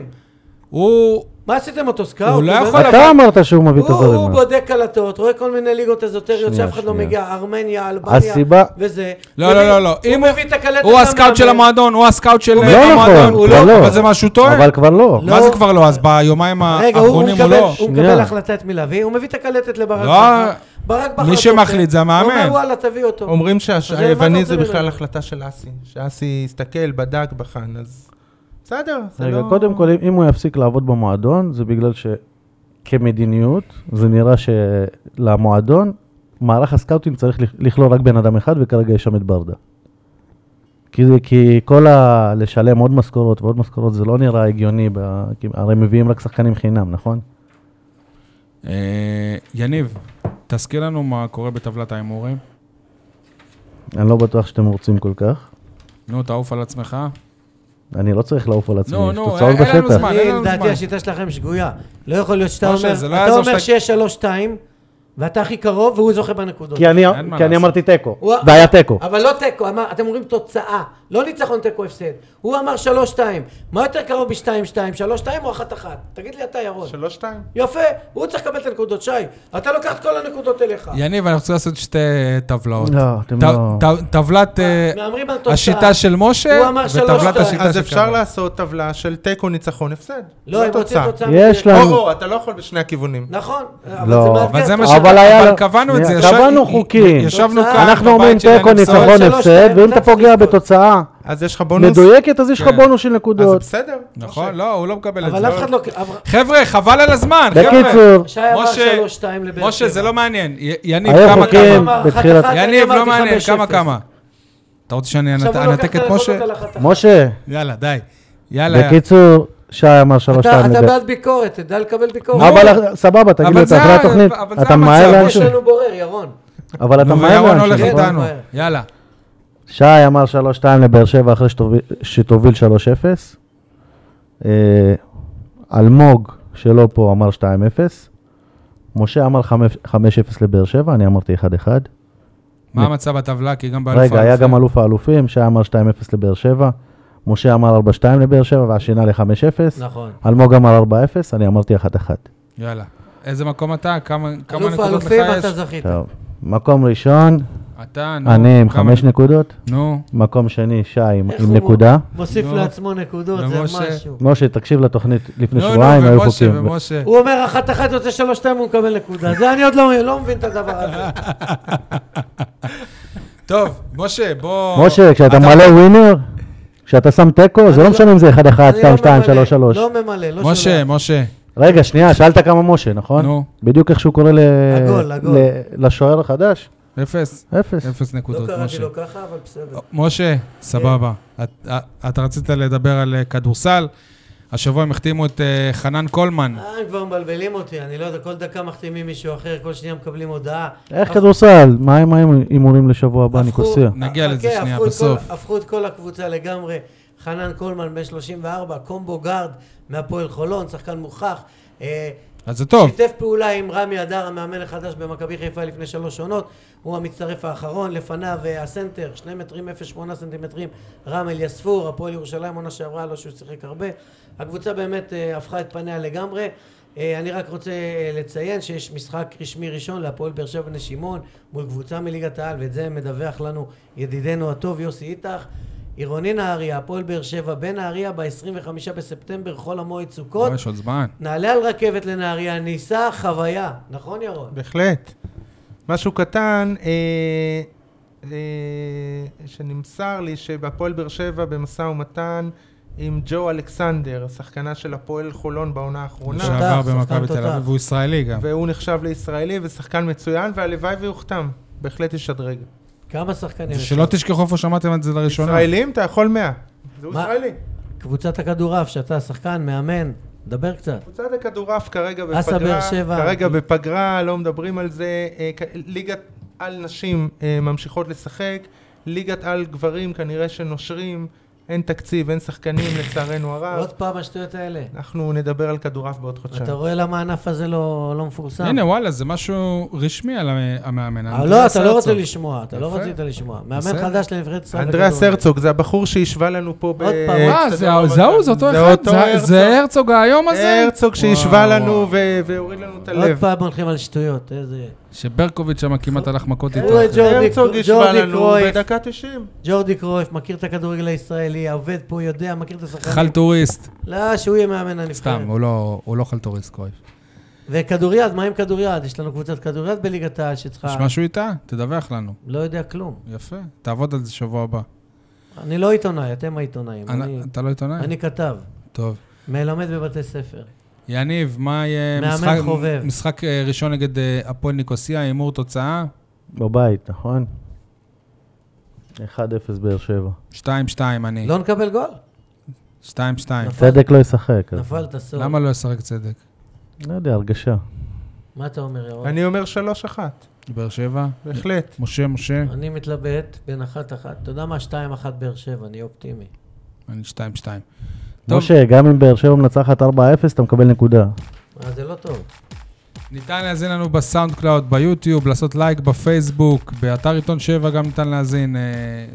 A: הוא...
C: מה עשיתם אותו סקאוט?
A: הוא לא
C: באמת-
A: יכול,
B: אתה אמרת שהוא מביא את
C: הוא-
B: הזרים.
C: הוא בודק קלטות, רואה כל מיני ליגות אזוטריות
B: שנייה,
C: שאף אחד לא
B: שנייה.
C: מגיע, ארמניה, אלבניה,
B: הסיבה-
C: וזה.
A: לא,
C: הוא
A: לא,
C: מביא-
A: לא, לא. אם
C: הוא מביא את הקלטת
A: הוא
C: גם
A: הסקאוט של
C: למאמן.
A: המועדון, הוא הסקאוט של
B: לא
A: אה,
B: נכון,
A: המועדון.
B: כבר לא.
A: אבל זה מה שהוא טועה.
B: אבל כבר לא.
A: מה זה כבר לא? אז ביומיים
C: רגע, הוא- הוא
A: האחרונים הוא
C: מקבל-
A: לא.
C: הוא
B: שנייה.
C: מקבל החלטה את מי להביא, הוא מביא את הקלטת לברק
A: לא,
C: בכר. ברק בכר...
A: מי שמחליט זה המאמן.
C: הוא אומר וואלה, תביא אותו.
D: אומרים
C: אז מה אתה
D: שהיווני
C: רוצה
D: זה בכלל
C: ממנו?
D: החלטה של אסי, שאסי הסתכל, בדק, בחן, אז בסדר, זה לא...
B: רגע, קודם כל, אם- אם הוא יפסיק לעבוד במועדון, זה בגלל שכמדיניות, זה נראה שלמועדון, מערך הסקאוטינג צריך לכ- לכלול רק בן אדם אחד, וכרגע יש שם את ברדה. כי, זה- כי כל ה... לשלם עוד משכורות ועוד משכורות, זה לא נראה הגיוני, ב... כי הרי מביאים רק שחקנים חינם, נכון?
A: אה, יניב, תזכיר לנו מה קורה בטבלת ההימורים.
B: אני לא בטוח שאתם רוצים כל כך.
A: נו, תעוף על עצמך.
B: אני לא צריך לעוף על עצמי,
A: נו,
B: יש
A: נו,
B: תוצאות
A: אין לנו
B: בשטח.
A: זמן.
C: אני,
A: אין לנו זמן.
C: לדעתי, השיטה שלכם שגויה. לא יכול להיות שאתה
A: משה,
C: אומר,
A: זה לא
C: אתה
A: יעזור
C: אומר
A: שאתה-
C: שיש 3-2, ואתה הכי קרוב, והוא זוכה בנקודות.
B: כי אני,
A: אין מה
B: כי אני
A: לעשות.
B: אמרתי תיקו,
C: הוא-
B: והיה תיקו.
C: אבל לא תיקו, אמר- אתם אומרים תוצאה, לא ניצחון תיקו הפסד. הוא אמר 3-2. מה יותר קרוב ב-2-2? 3-2 או 1-1? תגיד לי אתה, ירון.
D: שלוש, שתיים.
C: יפה, הוא צריך לקבל את הנקודות, שי. אתה לוקח את כל הנקודות אליך.
A: יניב, אני רוצה לעשות שתי אה, טבלאות.
B: לא, אתם
A: ט-
B: לא-
A: ט- טבלת אה,
C: מהמרים על תוצאה.
A: השיטה של
C: הוא
A: משה,
C: אמר
A: וטבלת
C: שלוש-שתיים.
A: השיטה
D: אז
A: של
D: אפשר
A: קארל.
D: לעשות טבלה של תיקו, ניצחון, הפסד.
C: לא, הם רוצים תוצאה.
B: יש
C: מדויקת.
B: לה-
D: או, או, אתה לא יכול בשני הכיוונים.
C: נכון, אבל
B: לא,
C: זה מאתגר.
A: אבל זה מה
B: אבל אבל היה...
A: אבל
B: לו-
A: קבענו את זה.
B: שנייה,
A: ישב-
B: קבענו
A: י-
B: חוקים.
A: ישבנו
C: תוצאה.
A: כאן,
B: אנחנו אומרים
A: בבית של
B: תיקו,
A: הנפסול.
B: ניצחון,
C: שלוש,
B: הפסד,
C: שתיים,
B: ואם
C: אתה
B: אתה פוגע
C: צריך לזכות.
B: בתוצאה
D: אז יש לך בונוס?
B: מדויקת, אז יש לך
A: כן.
B: בונוס של
D: אז
B: נקודות.
D: בסדר.
A: נכון,
D: משה.
A: לא, הוא לא מקבל את זה.
C: אבל אף אחד לא... אבר-
A: חבר'ה, חבל על הזמן, חבר'ה.
B: בקיצור,
C: שי אמר
A: משה,
C: 3-2 לבאר שבע.
A: משה, זה לא מעניין. י- יניב,
B: היו
A: כמה
B: חוקים
A: כמה?
C: לא אמר, אחת
B: בתחילת...
C: אחת. אני
A: יניב, לא
C: אמרתי
A: מעניין,
C: 5-0.
A: כמה כמה? אתה רוצה שאני
C: עכשיו הוא
A: אנתק
C: לוקח
A: את
C: את
A: משה?
C: הנקודות על החתך.
B: משה,
A: יאללה, די. יאללה.
B: בקיצור, שי אמר שלוש
C: אתה
B: שתיים
C: אתה
B: לגבי...
C: בעד ביקורת, תדע לקבל ביקורת.
B: אבל סבבה, תגיד
A: אבל
B: לי, אתה
A: זה
B: אחרי
A: ה-
B: התוכנית,
A: אבל זה
B: אתה
A: המצב,
B: מהר
A: משה.
B: לאן
C: יש
B: ש...
C: לנו בורר, ירון.
B: אבל אתה
A: נו,
B: מהר
A: וירון
B: לאן
A: הולך
B: ש...
C: נכון?
A: איתנו.
C: מהר.
A: יאללה.
B: שי אמר 3-2 לבאר שבע אחרי שתוביל- שתוביל 3-0. אה, אלמוג, שלא פה, אמר 2-0. משה אמר 5 5-0 לבאר שבע, אני אמרתי 1-1.
A: מה המצב בטבלה? כי גם באלוף
B: רגע, היה
A: האלופים.
B: גם אלוף האלופים, שי אמר 2-0 לבאר שבע. משה אמר 4-2 לבאר שבע, והשינה ל-5-0.
C: נכון.
B: אלמוג אמר 4-0, אני אמרתי 1-1.
A: יאללה. איזה מקום אתה? כמה כמה
C: אלוף
A: נקודות לך
C: האלופים,
A: יש?
C: אתה זכית.
B: טוב, מקום ראשון,
A: אתה, נו.
B: אני עם
A: כמה-
B: 5 נקודות.
A: נו.
B: מקום שני, שי עם
C: איך
B: עם
C: הוא
B: נקודה.
C: מוסיף
A: נו.
C: לעצמו נקודות, זה
A: ומשה.
C: משהו.
B: משה, תקשיב לתוכנית לפני
C: לא,
A: נו, נו,
B: שבועיים, היו
A: ומשה,
B: חוקים.
A: ומשה.
C: הוא אומר אחת אחת יוצא שלוש שתיים, הוא מקבל נקודה. זה אני עוד לא לא מבין את הדבר הזה.
A: טוב, משה, בוא...
B: משה, כשאתה
A: אתה-
B: מלא ווינר, כשאתה שם תיקו, זה
C: אני
B: לא
C: לא-
B: משנה אם זה 1-1,
C: אני לא
B: 2-2, 3-3.
C: ממלא, לא ממלא, לא
A: משה,
C: שולח.
A: משה.
B: רגע, שנייה, שאלת כמה משה, נכון?
A: נו.
B: בדיוק איך שהוא קורא ל...
C: עגול, עגול.
B: ל- לשוער החדש?
A: אפס.
B: אפס.
A: אפס
C: לא
A: נקודות,
C: קראתי
A: משה.
C: לו ככה, אבל בסדר.
A: משה, סבבה. את- אתה רצית לדבר על אה, כדורסל. השבוע הם החתימו את אה, חנן קולמן.
C: אה, הם כבר מבלבלים אותי, אני לא יודע, כל דקה מחתימים מישהו אחר, כל שנייה מקבלים הודעה.
B: איך
C: הפ-
B: כדורסל? מה עם- מה עם הימורים לשבוע הבא,
C: הפכו-
B: ניקוסיה?
A: נגיע
C: חכה,
A: לזה שנייה,
C: הפכו את
A: בסוף.
C: כל- הפכו את כל הקבוצה לגמרי. חנן קולמן, בן 34, קומבו גארד מהפועל חולון, שחקן מוכח. אה,
A: אז זה טוב.
C: שיתף פעולה עם רמי אדר, המאמן החדש במכבי חיפה לפני שלוש עונות. הוא המצטרף האחרון, לפניו אה, הסנטר, שני מטרים, 0.8 סנטימטרים, רם אליספור, הפועל ירושלים, עונה שעברה, לא שהוא שיחק הרבה. הקבוצה באמת אה, הפכה את פניה לגמרי. אה, אני רק רוצה אה, לציין שיש משחק רשמי ראשון להפועל באר שבע בני שמעון מול קבוצה מליגת העל, ואת זה מדווח לנו ידידנו הטוב יוסי איתך. עירוני נהריה, הפועל באר שבע בנהריה ב-25 בספטמבר, חול המועד סוכות.
A: לא, יש עוד זמן.
C: נעלה על רכבת לנהריה, ניסע חוויה, נכון ירון?
D: בהחלט. משהו קטן, אה, אה, שנמסר לי שבהפועל באר שבע במשא ומתן עם ג'ו אלכסנדר, השחקנה של הפועל חולון בעונה האחרונה,
C: עכשיו.
A: לשעבר
C: תותח, שחקן
A: במכבי תל
C: תותח.
A: אביב, והוא ישראלי גם.
D: והוא נחשב לישראלי ושחקן מצוין, והלוואי ויוכתם, בהחלט ישדרג.
C: כמה שחקנים?
A: שלא תשכחו איפה שמעתם את זה לראשונה.
D: ישראלים, אתה יכול 100. זה
C: מה?
D: ישראלי.
C: קבוצת הכדורעף, שאתה שחקן, מאמן, דבר קצת.
D: קבוצת הכדורעף כרגע
C: אסא באר
D: בפגרה,
C: שבע.
D: כרגע בפגרה, לא מדברים על זה. אה, כ- ליגת על נשים אה, ממשיכות לשחק, ליגת על גברים כנראה שנושרים, אין תקציב, אין שחקנים לצערנו
A: אה.
D: הרב.
C: עוד פעם השטויות האלה.
D: אנחנו נדבר על כדורעף בעוד
C: אתה
D: חודשיים.
C: רואה למה הענף הזה לא לא מפורסם?
A: הנה, וואלה, זה משהו רשמי על המ- המאמן.
C: אה,
A: אנדריאס
C: לא, אתה לא רוצה
A: הרצוג.
C: לשמוע, אתה לא
A: יפה.
C: רצית לשמוע. מאמן
A: בסדר.
C: חדש לנבחרת ישראל.
D: אנדריאס
C: בכדורגל.
D: הרצוג, זה הבחור שהשווה לנו פה ב...
C: עוד פעם.
A: אה, זה ה- זה ההוא, זה אותו
D: זה
A: אחד.
D: אותו
A: זה-
D: הרצוג.
A: זה הרצוג היום הזה?
D: הרצוג שהשווה
A: וואו,
D: לנו
A: וואו.
D: ו- והוריד לנו את
C: עוד
D: הלב.
C: פעם הולכים על שטויות, איזה...
A: שברקוביץ' שם כמעט הלך מכות איתו.
C: הוא את
A: אחי.
C: ג'ורדי-
D: הרצוג השווה
C: ג'ורדי
D: לנו
C: קרויף.
D: בדקה 90.
C: ג'ורדי קרויף, מכיר את הכדורגל הישראלי, עובד פה, יודע, מכיר את השחקנים.
A: חלטוריסט.
C: לא, שהוא יהיה מאמן הנבחרת.
A: סתם, הוא לא- הוא לא חלטוריסט, קרויף.
C: אה. וכדוריד, מה עם כדוריד? יש לנו קבוצת כדוריד בליגת העל שצריכה...
A: יש משהו איתה? תדווח לנו.
C: לא יודע כלום.
A: יפה. תעבוד על זה שבוע הבא.
C: אני לא עיתונאי, אתם העיתונאים.
A: אנ-
C: אני-
A: אתה לא עיתונאי?
C: אני כתב,
A: טוב.
C: מלמד בבתי ספר.
A: יניב, מה יהיה
C: מאמן
A: משחק-
C: חובב.
A: משחק אה, ראשון נגד אה, הפועל ניקוסיה, הימור תוצאה?
B: בבית, נכון? 1-0 באר שבע.
A: 2-2 אני.
C: לא נכון. נקבל גול?
A: 2-2.
C: נפל-
B: צדק לא ישחק. אז-
C: נפל את הסוף.
A: למה לא ישחק צדק?
B: לא יודע, הרגשה.
C: מה אתה אומר, ירון?
D: אני אומר 3-1,
A: באר שבע?
D: בהחלט.
A: משה, משה?
C: אני מתלבט בין אחת-אחת. אתה יודע מה? שתיים-אחת באר שבע, אני אופטימי.
A: אני 2-2. טוב,
B: משה, גם אם באר שבע מנצחת 4-0, אתה מקבל נקודה.
C: אה, זה לא טוב.
A: ניתן להאזין לנו בסאונד קלאוד, ביוטיוב, לעשות לייק בפייסבוק, באתר עיתון 7 גם ניתן להאזין. אה,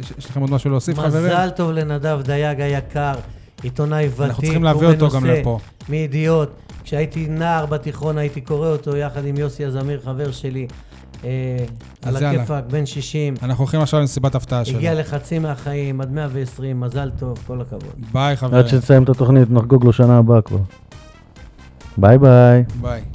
A: יש- יש לכם עוד משהו להוסיף, חברים?
C: מזל טוב לנדב דייג היקר, עיתונאי ותיק
A: אנחנו צריכים להביא אותו גם
C: ומנוסה,
A: לפה.
C: מידיעות. כשהייתי נער בתיכון הייתי קורא אותו יחד עם יוסי הזמיר, חבר שלי. אה, על
A: אז יאללה.
C: הכיפאק, בן 60.
A: אנחנו הולכים עכשיו למסיבת הפתעה שלו.
C: הגיע לחצי מהחיים, עד 120, מזל טוב, כל הכבוד.
A: ביי, חברים.
B: עד שנסיים את התוכנית, נחגוג לו שנה הבאה כבר. ביי ביי.
A: ביי.